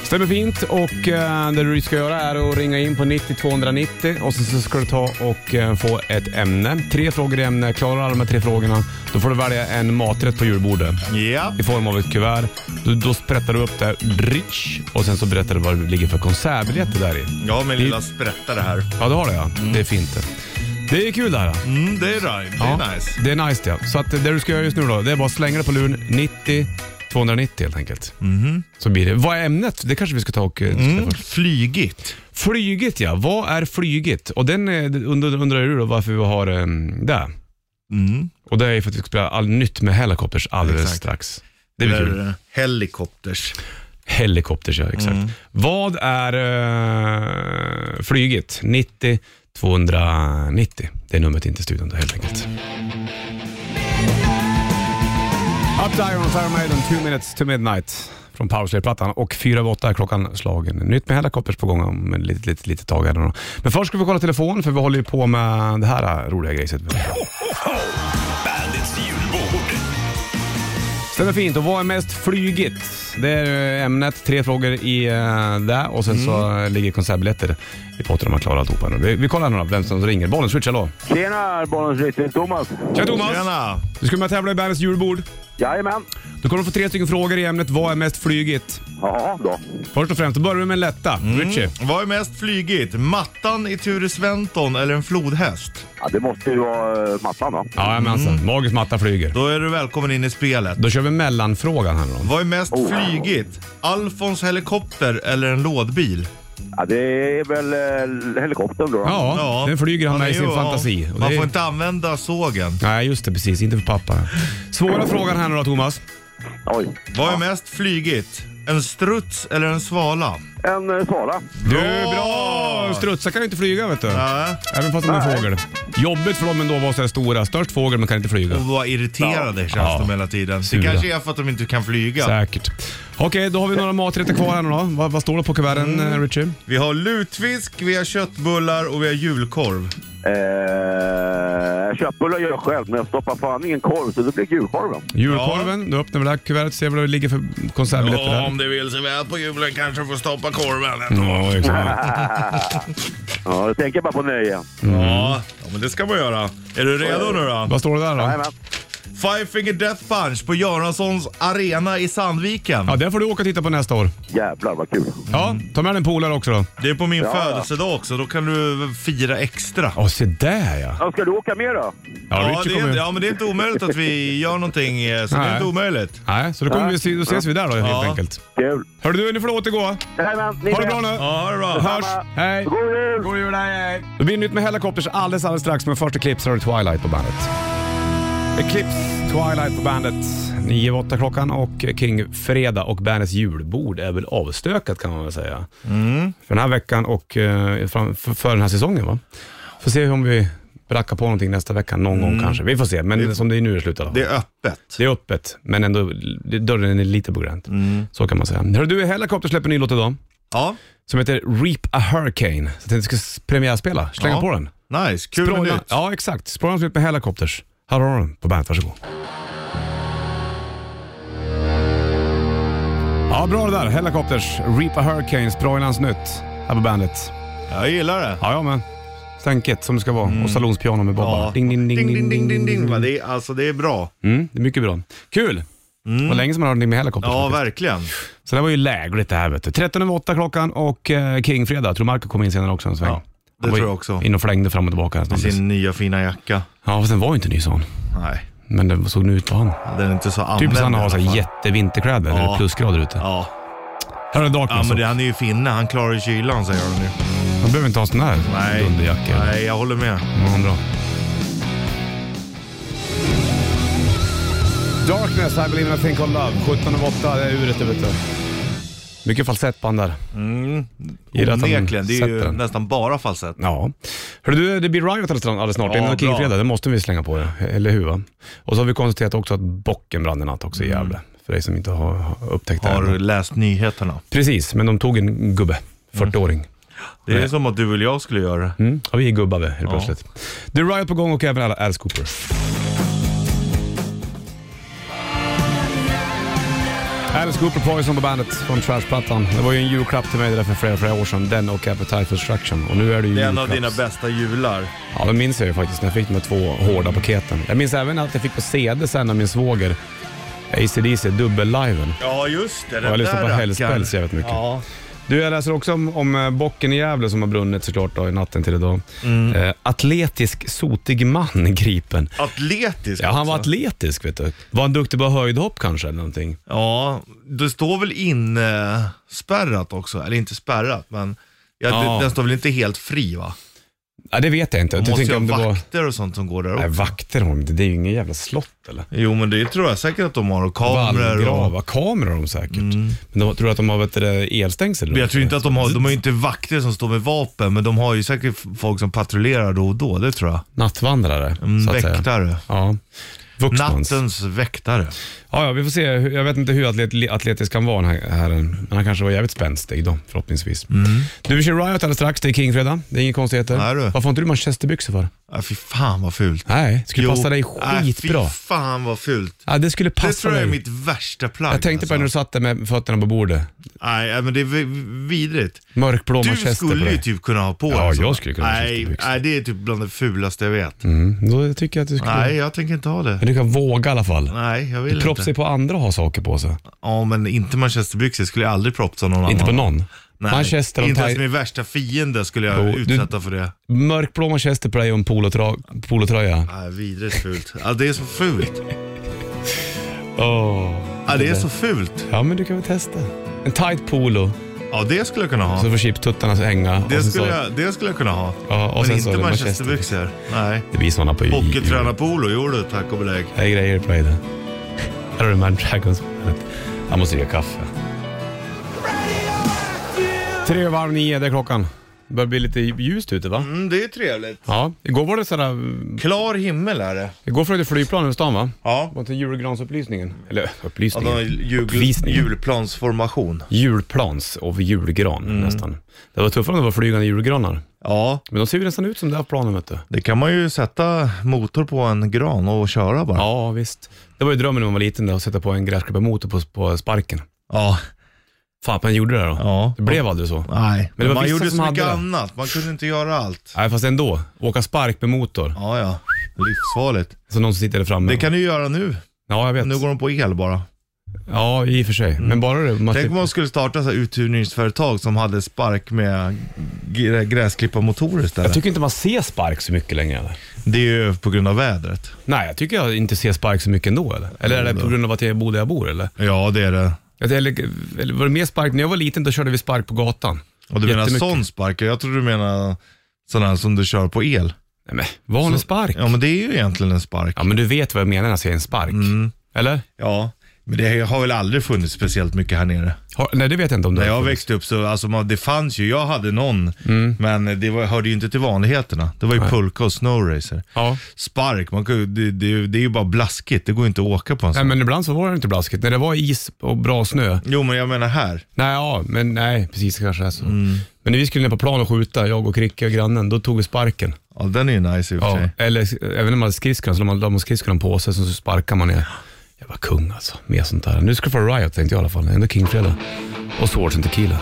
[SPEAKER 2] Stämmer fint och eh, det du ska göra är att ringa in på 90 290 och sen så ska du ta och eh, få ett ämne. Tre frågor i ämne. Klarar du alla de här tre frågorna då får du välja en maträtt på julbordet
[SPEAKER 3] Ja.
[SPEAKER 2] i form av ett kuvert. Då, då sprättar du upp det här rich, och sen så berättar du vad det ligger för konsertbiljetter där i.
[SPEAKER 3] Ja, min lilla sprättare här.
[SPEAKER 2] Ja, det har du ja. Det är fint det. Det är kul det här.
[SPEAKER 3] Mm, det är rhyme. Mm. Det är
[SPEAKER 2] ja,
[SPEAKER 3] nice.
[SPEAKER 2] Det är nice det. Så att det du ska göra just nu då, det är bara att slänga det på luren 90 290 helt enkelt. Så blir det. Vad är ämnet? Det kanske vi ska ta och eh, diskutera
[SPEAKER 3] Mm-hmm. Mm,
[SPEAKER 2] först.
[SPEAKER 3] flygigt.
[SPEAKER 2] Flygigt ja, vad är flygigt? Och den eh, undrar, undrar du då varför vi har um, det.
[SPEAKER 3] Mm.
[SPEAKER 2] Och det är för att vi ska spela all nytt med Hellacopters alldeles
[SPEAKER 3] Exakt.
[SPEAKER 2] strax. Det blir
[SPEAKER 3] Där
[SPEAKER 2] kul.
[SPEAKER 3] är det. Helikopters.
[SPEAKER 2] Helikopters ja, exakt. Vad är eh, flygigt? 90 290. Det är numret in till studion då, helt enkelt. Up to Iron Fire Maiden, two minutes to midnight från Powerslay-plattan och fyra över åtta är klockan slagen. Nytt med Hellacopters på gång om ett litet, litet, litet tag. här nu då. Men först ska vi kolla telefon för vi håller ju på med det här eh, roliga grejset.
[SPEAKER 5] Bandits julbord.
[SPEAKER 2] Stämmer fint. Och vad är mest flygigt? Det är eh, ämnet, tre frågor i eh, det och sen så eh, ligger konsertbiljetter i potten om man klarar alltihopa. nu. Vi, vi kollar nu då vem som ringer. Bollen switch, hallå.
[SPEAKER 6] Tjena, Bollens Rytte. Thomas.
[SPEAKER 2] Tja Thomas!
[SPEAKER 3] Tjena!
[SPEAKER 2] Du ska med och tävla i Bandets julbord.
[SPEAKER 6] Jajamän.
[SPEAKER 2] Du kommer få tre stycken frågor i ämnet vad är mest flygigt.
[SPEAKER 6] Ja, då.
[SPEAKER 2] Först och främst, då börjar vi med en lätta.
[SPEAKER 3] Mm.
[SPEAKER 2] Richie.
[SPEAKER 3] Vad är mest flygigt? Mattan i Ture Sventon eller en flodhäst?
[SPEAKER 6] Ja, det måste ju vara eh, mattan, va?
[SPEAKER 2] Jajamensan,
[SPEAKER 3] Mm.
[SPEAKER 2] magisk matta flyger.
[SPEAKER 3] Då är du välkommen in i spelet.
[SPEAKER 2] Då kör vi mellanfrågan här nu då.
[SPEAKER 3] Vad är mest flygigt? Alfons helikopter eller en lådbil?
[SPEAKER 6] Ja, det är väl eh, helikoptern då.
[SPEAKER 2] Ja, den flyger han
[SPEAKER 3] Ja,
[SPEAKER 2] med
[SPEAKER 3] det
[SPEAKER 2] i
[SPEAKER 3] är
[SPEAKER 2] sin
[SPEAKER 3] ju- ja.
[SPEAKER 2] fantasi. Och
[SPEAKER 3] Man
[SPEAKER 2] det är-
[SPEAKER 3] får inte använda sågen.
[SPEAKER 2] Nej, just det. Precis. Inte för pappa. Svåra frågan här nu då Thomas.
[SPEAKER 6] Oj.
[SPEAKER 3] Vad är mest flygigt? En struts eller en svala?
[SPEAKER 6] En eh, svala.
[SPEAKER 2] Du, bra! Strutsar kan ju inte flyga vet du.
[SPEAKER 3] Ja.
[SPEAKER 2] Även fast de är fågel. Jobbigt för dem ändå att vara så här stora. Störst fågel men kan inte flyga.
[SPEAKER 3] Och vad irriterade känns
[SPEAKER 2] Ja.
[SPEAKER 3] de hela tiden. Det
[SPEAKER 2] Sura.
[SPEAKER 3] kanske är för att de inte kan flyga.
[SPEAKER 2] Säkert. Okej, då har vi några maträtter kvar här nu då. Vad, vad står det på kuverten, mm. Richie?
[SPEAKER 3] Vi har lutfisk, vi har köttbullar och vi har julkorv.
[SPEAKER 6] Eh, köttbullar gör jag själv, men jag stoppar fan ingen korv, så det blir julkorven.
[SPEAKER 2] Julkorven. Då öppnar vi det här kuvertet ser vi vad det ligger för konsertbiljetter där. Mm.
[SPEAKER 3] det vill sig väl på julen kanske får stoppa korven.
[SPEAKER 2] Ja, exakt.
[SPEAKER 6] Ja, jag tänker bara på nöjen.
[SPEAKER 2] Mm.
[SPEAKER 3] Ja, ja, men det ska man göra. Är du redo nu då?
[SPEAKER 2] Vad står det där då?
[SPEAKER 6] Jajamän.
[SPEAKER 3] Five Finger Death Punch på Göranssons arena i Sandviken.
[SPEAKER 2] Ja, den får du åka och titta på nästa år.
[SPEAKER 6] Jävlar vad kul.
[SPEAKER 2] Ja, ta med dig en polare också då.
[SPEAKER 3] Det är på min
[SPEAKER 6] Ja.
[SPEAKER 3] födelsedag också, då kan du fira extra.
[SPEAKER 2] Ja, se där ja.
[SPEAKER 6] Ja, ska du åka med då?
[SPEAKER 2] Ja,
[SPEAKER 3] det
[SPEAKER 2] Richie
[SPEAKER 3] är,
[SPEAKER 2] kommer ju.
[SPEAKER 3] ja, men det är inte omöjligt att vi gör någonting, eh, så det
[SPEAKER 2] Nej.
[SPEAKER 3] är inte omöjligt.
[SPEAKER 2] Nej, så då, kommer vi, se- då ses vi där då helt
[SPEAKER 3] Ja.
[SPEAKER 2] enkelt.
[SPEAKER 6] Kul.
[SPEAKER 2] Hörru du, nu får du återgå.
[SPEAKER 6] Jajamän, ni
[SPEAKER 2] Ha det
[SPEAKER 6] med.
[SPEAKER 2] bra nu.
[SPEAKER 3] Ja, det är bra.
[SPEAKER 2] Hörs. Hej.
[SPEAKER 6] God jul!
[SPEAKER 2] God jul, hej, hej. Det blir nytt med Hellacopters alldeles, alldeles strax, men först Eclipse har du Twilight på bandet. Eclipse, Twilight på bandet. 9-8 klockan och kring fredag och bandets julbord är väl avstökat kan man väl säga. För den här veckan och eh, fram, för, för den här säsongen va? Får se om vi brackar på någonting nästa vecka någon gång kanske. Vi får se, men som det är nu i slutet.
[SPEAKER 3] Det är öppet.
[SPEAKER 2] Det är öppet, men ändå det- dörren är lite på gränt. Så kan man säga. Hörru du, Hellacopter släpper en ny låt idag
[SPEAKER 3] Ja,
[SPEAKER 2] som heter Reap a Hurricane. Så jag tänkte att vi ska premiärspela, slänga
[SPEAKER 3] Ja.
[SPEAKER 2] på den.
[SPEAKER 3] nice. Kul med
[SPEAKER 2] Språna-
[SPEAKER 3] nytt.
[SPEAKER 2] Ja, exakt. Språnans ut med Hellacopters. Här har du den på bandet, varsågod. Ja, bra det där. Hellacopters, Reap a Hurricane, Sproilans nytt här på bandet.
[SPEAKER 3] Jag gillar det.
[SPEAKER 2] Ja, jag med. Stänkigt som det ska vara och salonspiano med bobbar.
[SPEAKER 3] Mm. Ja.
[SPEAKER 2] Ding, ding, ding, ding, ding,
[SPEAKER 3] ding, ding, va? Det är, alltså, det är bra.
[SPEAKER 2] Mm, det är mycket bra. Kul! Det var länge som man hörde någonting med Hellacopters.
[SPEAKER 3] Mm. Ja,
[SPEAKER 2] faktiskt.
[SPEAKER 3] verkligen.
[SPEAKER 2] Så det var ju lägligt det här vet du. 13 över 8 klockan och eh, King-fredag. Jag tror Marco kom in senare också en sväng.
[SPEAKER 3] Ja, det
[SPEAKER 2] Han var
[SPEAKER 3] tror
[SPEAKER 2] ju
[SPEAKER 3] jag också.
[SPEAKER 2] In och flängde fram och tillbaka.
[SPEAKER 3] Med
[SPEAKER 2] Sin...
[SPEAKER 3] sin nya fina jacka.
[SPEAKER 2] Ja, fast den var ju inte ny sån.
[SPEAKER 3] Nej,
[SPEAKER 2] Men den såg nu ut på han.
[SPEAKER 3] den är inte så använd
[SPEAKER 2] Typ som han
[SPEAKER 3] i
[SPEAKER 2] har
[SPEAKER 3] alla
[SPEAKER 2] så här
[SPEAKER 3] fall.
[SPEAKER 2] jättevinterkläder när det är
[SPEAKER 3] Ja.
[SPEAKER 2] plusgrader ute.
[SPEAKER 3] Ja,
[SPEAKER 2] Här är
[SPEAKER 3] ja
[SPEAKER 2] Darkness.
[SPEAKER 3] men det, han är ju finne. Han klarar ju kylan säger han nu.
[SPEAKER 2] Man behöver inte ha sån där
[SPEAKER 3] Nej,
[SPEAKER 2] dunderjacka.
[SPEAKER 3] nej jag håller med.
[SPEAKER 2] Ja, bra. Darkness, I believe in a thing called love. 17 över 8, det är uret det vet du. Mycket falsettband där. Gillar att han
[SPEAKER 3] Onekligen. Det är ju
[SPEAKER 2] sätter den.
[SPEAKER 3] nästan bara falsett.
[SPEAKER 2] Ja. Hörru du, det blir Riot alldeles- alldeles snart.
[SPEAKER 3] Ja,
[SPEAKER 2] Innan
[SPEAKER 3] bra.
[SPEAKER 2] Kingfredag, det måste vi slänga på det. Eller hur? Va? Och så har vi konstaterat också att bocken brann i natt också i Gävle. För dig som inte har har upptäckt
[SPEAKER 3] Mm. Har
[SPEAKER 2] det.
[SPEAKER 3] du
[SPEAKER 2] än.
[SPEAKER 3] läst nyheterna?
[SPEAKER 2] Precis, men de tog en gubbe.
[SPEAKER 3] Mm.
[SPEAKER 2] 40-åring.
[SPEAKER 3] Det är som att du eller jag skulle göra det.
[SPEAKER 2] Mm. Ja, vi är gubbar vi, helt plötsligt. Det är Riot på gång och även alla Alice Cooper. Alice Cooper Poison på bandet från Trash-plattan. Det var ju en julklapp till mig det där för flera, flera år sedan. Den och Appetite for Destruction. Och nu är det ju
[SPEAKER 3] Det är en av
[SPEAKER 2] julklapps-
[SPEAKER 3] dina bästa jular.
[SPEAKER 2] Ja, det minns jag ju faktiskt när jag fick de här två
[SPEAKER 3] Mm.
[SPEAKER 2] hårda paketen. Jag minns även att jag fick på CD sen av min svåger. ACDC dubbel-liven.
[SPEAKER 3] Ja, just det. Den
[SPEAKER 2] Jag har lyssnat på
[SPEAKER 3] rackaren.
[SPEAKER 2] Hellspells jävligt mycket.
[SPEAKER 3] Ja.
[SPEAKER 2] Du, jag läser också om, om eh, bocken i Gävle som har brunnit såklart då, i natten till idag.
[SPEAKER 3] Mm.
[SPEAKER 2] Eh, atletisk, sotig man gripen.
[SPEAKER 3] Atletisk
[SPEAKER 2] Ja, han var
[SPEAKER 3] också.
[SPEAKER 2] atletisk vet du. Var han duktig på höjdhopp kanske eller någonting?
[SPEAKER 3] Ja, det står väl inspärrat också. Eller inte spärrat, men ja,
[SPEAKER 2] Ja.
[SPEAKER 3] det- den står väl inte helt fri va?
[SPEAKER 2] Ja, det vet jag inte.
[SPEAKER 3] Du
[SPEAKER 2] Du
[SPEAKER 3] måste
[SPEAKER 2] tänker
[SPEAKER 3] ju
[SPEAKER 2] om det
[SPEAKER 3] ha
[SPEAKER 2] var...
[SPEAKER 3] vakter och sånt som går där
[SPEAKER 2] Nej,
[SPEAKER 3] också.
[SPEAKER 2] vakter har de inte. Det är ju ingen jävla slott eller?
[SPEAKER 3] Jo, men det tror jag säkert att de har. Och kameror och...
[SPEAKER 2] Vallgravar. Kameror har de säkert. Men de, tror du att de har vet du, det, elstängsel?
[SPEAKER 3] Men jag tror inte att de har, de har ju inte vakter som står med vapen, men de har ju säkert folk som patrullerar då och då, det tror jag.
[SPEAKER 2] Nattvandrare,
[SPEAKER 3] Mm,
[SPEAKER 2] så att säga.
[SPEAKER 3] väktare.
[SPEAKER 2] Ja. Vuxmans.
[SPEAKER 3] Nattens väktare.
[SPEAKER 2] Ja, ja, vi får se. Jag vet inte hur atlet, atletisk han var, den här herren. Men han kanske var jävligt spänstig då, förhoppningsvis. Du, vi kör Riot alldeles strax. Det är King-fredag. Det är inga konstigheter.
[SPEAKER 3] Mm. Nej, du.
[SPEAKER 2] Varför har inte du manchesterbyxor för?
[SPEAKER 3] Ja, Äh, fy fan vad fult.
[SPEAKER 2] Nej, skulle
[SPEAKER 3] Jo,
[SPEAKER 2] passa dig
[SPEAKER 3] nej,
[SPEAKER 2] skitbra.
[SPEAKER 3] fy fan vad fult.
[SPEAKER 2] ja, det skulle passa
[SPEAKER 3] Det tror jag är
[SPEAKER 2] dig.
[SPEAKER 3] mitt värsta plagg.
[SPEAKER 2] jag tänkte på det när du
[SPEAKER 3] alltså.
[SPEAKER 2] satt där med fötterna på bordet.
[SPEAKER 3] Nej, nej, men det är vi- vidrigt.
[SPEAKER 2] Mörkblå
[SPEAKER 3] Du
[SPEAKER 2] manchester på
[SPEAKER 3] skulle ju
[SPEAKER 2] dig.
[SPEAKER 3] typ kunna ha på
[SPEAKER 2] Ja,
[SPEAKER 3] en sån.
[SPEAKER 2] jag skulle kunna ha
[SPEAKER 3] nej,
[SPEAKER 2] manchesterbyxor.
[SPEAKER 3] nej, det är typ bland det fulaste jag vet.
[SPEAKER 2] Mm, då tycker jag att du skulle...
[SPEAKER 3] Nej, jag tänker inte ha det.
[SPEAKER 2] Men du kan våga i alla fall.
[SPEAKER 3] Nej, jag vill
[SPEAKER 2] Propsa
[SPEAKER 3] inte.
[SPEAKER 2] på andra och ha saker på sig.
[SPEAKER 3] Ja, men inte manchesterbyxor. skulle jag aldrig propsa någon annan.
[SPEAKER 2] Inte på någon.
[SPEAKER 3] Nej.
[SPEAKER 2] Manchester och
[SPEAKER 3] Inte ens
[SPEAKER 2] thai...
[SPEAKER 3] min värsta fiende skulle jag
[SPEAKER 2] Jo, du-
[SPEAKER 3] utsätta för det.
[SPEAKER 2] Mörkblå manchester på dig och en polotra... polotröja.
[SPEAKER 3] Nej, vidrigt fult. Ja, det är så fult.
[SPEAKER 2] Åh.
[SPEAKER 3] Ja, det är så fult.
[SPEAKER 2] Ja, men du kan väl testa. En tight polo,
[SPEAKER 3] Ja, det skulle jag kunna
[SPEAKER 2] så
[SPEAKER 3] ha.
[SPEAKER 2] får chiptuttarna hänga. och
[SPEAKER 3] Det
[SPEAKER 2] sen
[SPEAKER 3] skulle
[SPEAKER 2] så,
[SPEAKER 3] jag, det skulle jag kunna ha.
[SPEAKER 2] Ja, och sen
[SPEAKER 3] men
[SPEAKER 2] så har
[SPEAKER 3] inte
[SPEAKER 2] vi
[SPEAKER 3] manchesterbyxor. Nej.
[SPEAKER 2] Det blir sådana på jul.
[SPEAKER 3] Hockeytränarpolo, jo du, tack och belägg.
[SPEAKER 2] Det är grejer på dig det. Här har du Mad Dragons på bandet. Jag måste dricka kaffe. Tre och varv nio, det är klockan. Det börjar bli lite ljust ute va?
[SPEAKER 3] Mm, det är trevligt.
[SPEAKER 2] Ja, igår var det sådär...
[SPEAKER 3] Klar himmel är det.
[SPEAKER 2] Igår flög det flygplan över stan va?
[SPEAKER 3] Ja.
[SPEAKER 2] Var inte julgransupplysningen? Eller
[SPEAKER 3] Ja, de har
[SPEAKER 2] upplysningen?
[SPEAKER 3] jul,
[SPEAKER 2] Uppvisningen.
[SPEAKER 3] julplansformation.
[SPEAKER 2] Julplans och julgran
[SPEAKER 3] Mm.
[SPEAKER 2] nästan. Det var tuffare om det var flygande julgranar.
[SPEAKER 3] Ja,
[SPEAKER 2] Men de ser ju nästan ut som det här planen vet du.
[SPEAKER 3] det kan man ju sätta motor på en gran och köra bara.
[SPEAKER 2] Ja, visst. Det var ju drömmen när man var liten, där, att sätta på en gräsklipparmotor på, på sparken.
[SPEAKER 3] ja.
[SPEAKER 2] Fan, man gjorde det då.
[SPEAKER 3] Ja.
[SPEAKER 2] Det blev aldrig så.
[SPEAKER 3] Nej,
[SPEAKER 2] Men det var
[SPEAKER 3] man
[SPEAKER 2] vissa
[SPEAKER 3] gjorde
[SPEAKER 2] som
[SPEAKER 3] så
[SPEAKER 2] hade
[SPEAKER 3] mycket
[SPEAKER 2] det.
[SPEAKER 3] annat. Man kunde inte göra allt.
[SPEAKER 2] Nej, fast ändå. Åka spark med motor.
[SPEAKER 3] Ja, ja. Livsfarligt.
[SPEAKER 2] Så någon som sitter där framme.
[SPEAKER 3] Det kan du göra nu.
[SPEAKER 2] Ja, jag vet.
[SPEAKER 3] Nu går de på el bara.
[SPEAKER 2] Ja, i och för sig. Men bara det. Man
[SPEAKER 3] Tänk om
[SPEAKER 2] slipper-
[SPEAKER 3] man skulle starta så här uthyrningsföretag som hade spark med gr- gräsklipparmotorer
[SPEAKER 2] Jag
[SPEAKER 3] istället.
[SPEAKER 2] tycker inte man ser spark så mycket längre. Eller?
[SPEAKER 3] Det är ju på grund av vädret.
[SPEAKER 2] Nej, jag tycker jag inte ser spark så mycket ändå. Eller, eller är
[SPEAKER 3] Mm.
[SPEAKER 2] det på grund av att jag bor där jag bor? Eller,
[SPEAKER 3] Ja, det är det.
[SPEAKER 2] Att- eller, eller var det mer spark? När jag var liten då körde vi spark på gatan.
[SPEAKER 3] Och du menar
[SPEAKER 2] Jättemycket.
[SPEAKER 3] sån spark? Jag tror du menar sån här som du kör på el.
[SPEAKER 2] Nej, men vanlig spark.
[SPEAKER 3] Ja, men det är ju egentligen en spark.
[SPEAKER 2] Ja, men du vet vad jag menar när jag säger en spark.
[SPEAKER 3] Mm.
[SPEAKER 2] Eller?
[SPEAKER 3] Ja, men det har väl aldrig funnits speciellt mycket här nere.
[SPEAKER 2] Har, nej, det vet jag inte om du
[SPEAKER 3] När jag
[SPEAKER 2] har-
[SPEAKER 3] växte upp så, alltså man, det fanns ju, jag hade någon, men det var, hörde ju inte till vanligheterna. Det var ju pulka och snowracer.
[SPEAKER 2] Ja.
[SPEAKER 3] Spark, man kan, ju- det, det, det är ju bara blaskigt, det går ju inte att åka på en
[SPEAKER 2] Nej,
[SPEAKER 3] sån.
[SPEAKER 2] men ibland så var det inte blaskigt. När det var is och bra snö.
[SPEAKER 3] Jo, men jag menar här.
[SPEAKER 2] Nej, ja, men nej, precis kanske är så.
[SPEAKER 3] Mm.
[SPEAKER 2] Men när vi skulle ner på plan och skjuta, jag och Kricke och grannen, då tog vi sparken.
[SPEAKER 3] Ja, den är ju nice i och för
[SPEAKER 2] Ja.
[SPEAKER 3] sig.
[SPEAKER 2] Eller eh, även när man hade skridskorna, så la man, la man skridskorna på sig, så sparkar man ner. Jag var kung alltså, med sånt där. Nu ska du få Riot tänkte jag i alla fall. Ändå King-fredag. Och Swords and Tequila.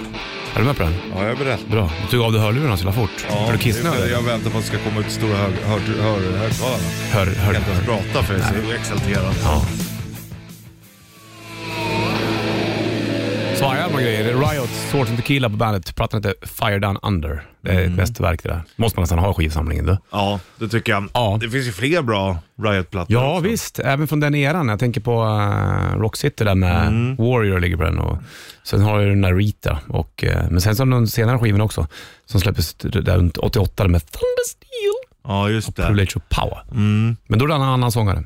[SPEAKER 2] Är du med på den?
[SPEAKER 3] Ja, jag är beredd.
[SPEAKER 2] Bra. Du tog av dig hörlurarna så jävla fort.
[SPEAKER 3] Ja,
[SPEAKER 2] är du
[SPEAKER 3] det är för-
[SPEAKER 2] kissnödig?
[SPEAKER 3] Jag väntar på att det ska komma ut stora hög- hör- hör- högtalarna.
[SPEAKER 2] Hör, hör,
[SPEAKER 3] Jag kan inte ens
[SPEAKER 2] hör.
[SPEAKER 3] prata för jag är så exalterad.
[SPEAKER 2] Ja. Svajar man grejer. Riot, Swords and Tequila på bandet. Plattan heter Fire Down Under. Det är ett mästerverk det där. Måste man nästan ha i skivsamlingen du.
[SPEAKER 3] Ja, det tycker jag.
[SPEAKER 2] Ja.
[SPEAKER 3] Det finns ju fler bra Riot-plattor.
[SPEAKER 2] Ja
[SPEAKER 3] också.
[SPEAKER 2] visst, även från den eran. Jag tänker på eh, Rock City där med Warrior ligger på den. Och, sen har du den där Rita. Och, eh, men sen så har de den senare skivan också, som släpptes där runt 88 med Thunder Steel,
[SPEAKER 3] Ja, just det.
[SPEAKER 2] Privilege of Power. Men då är det en annan sångare.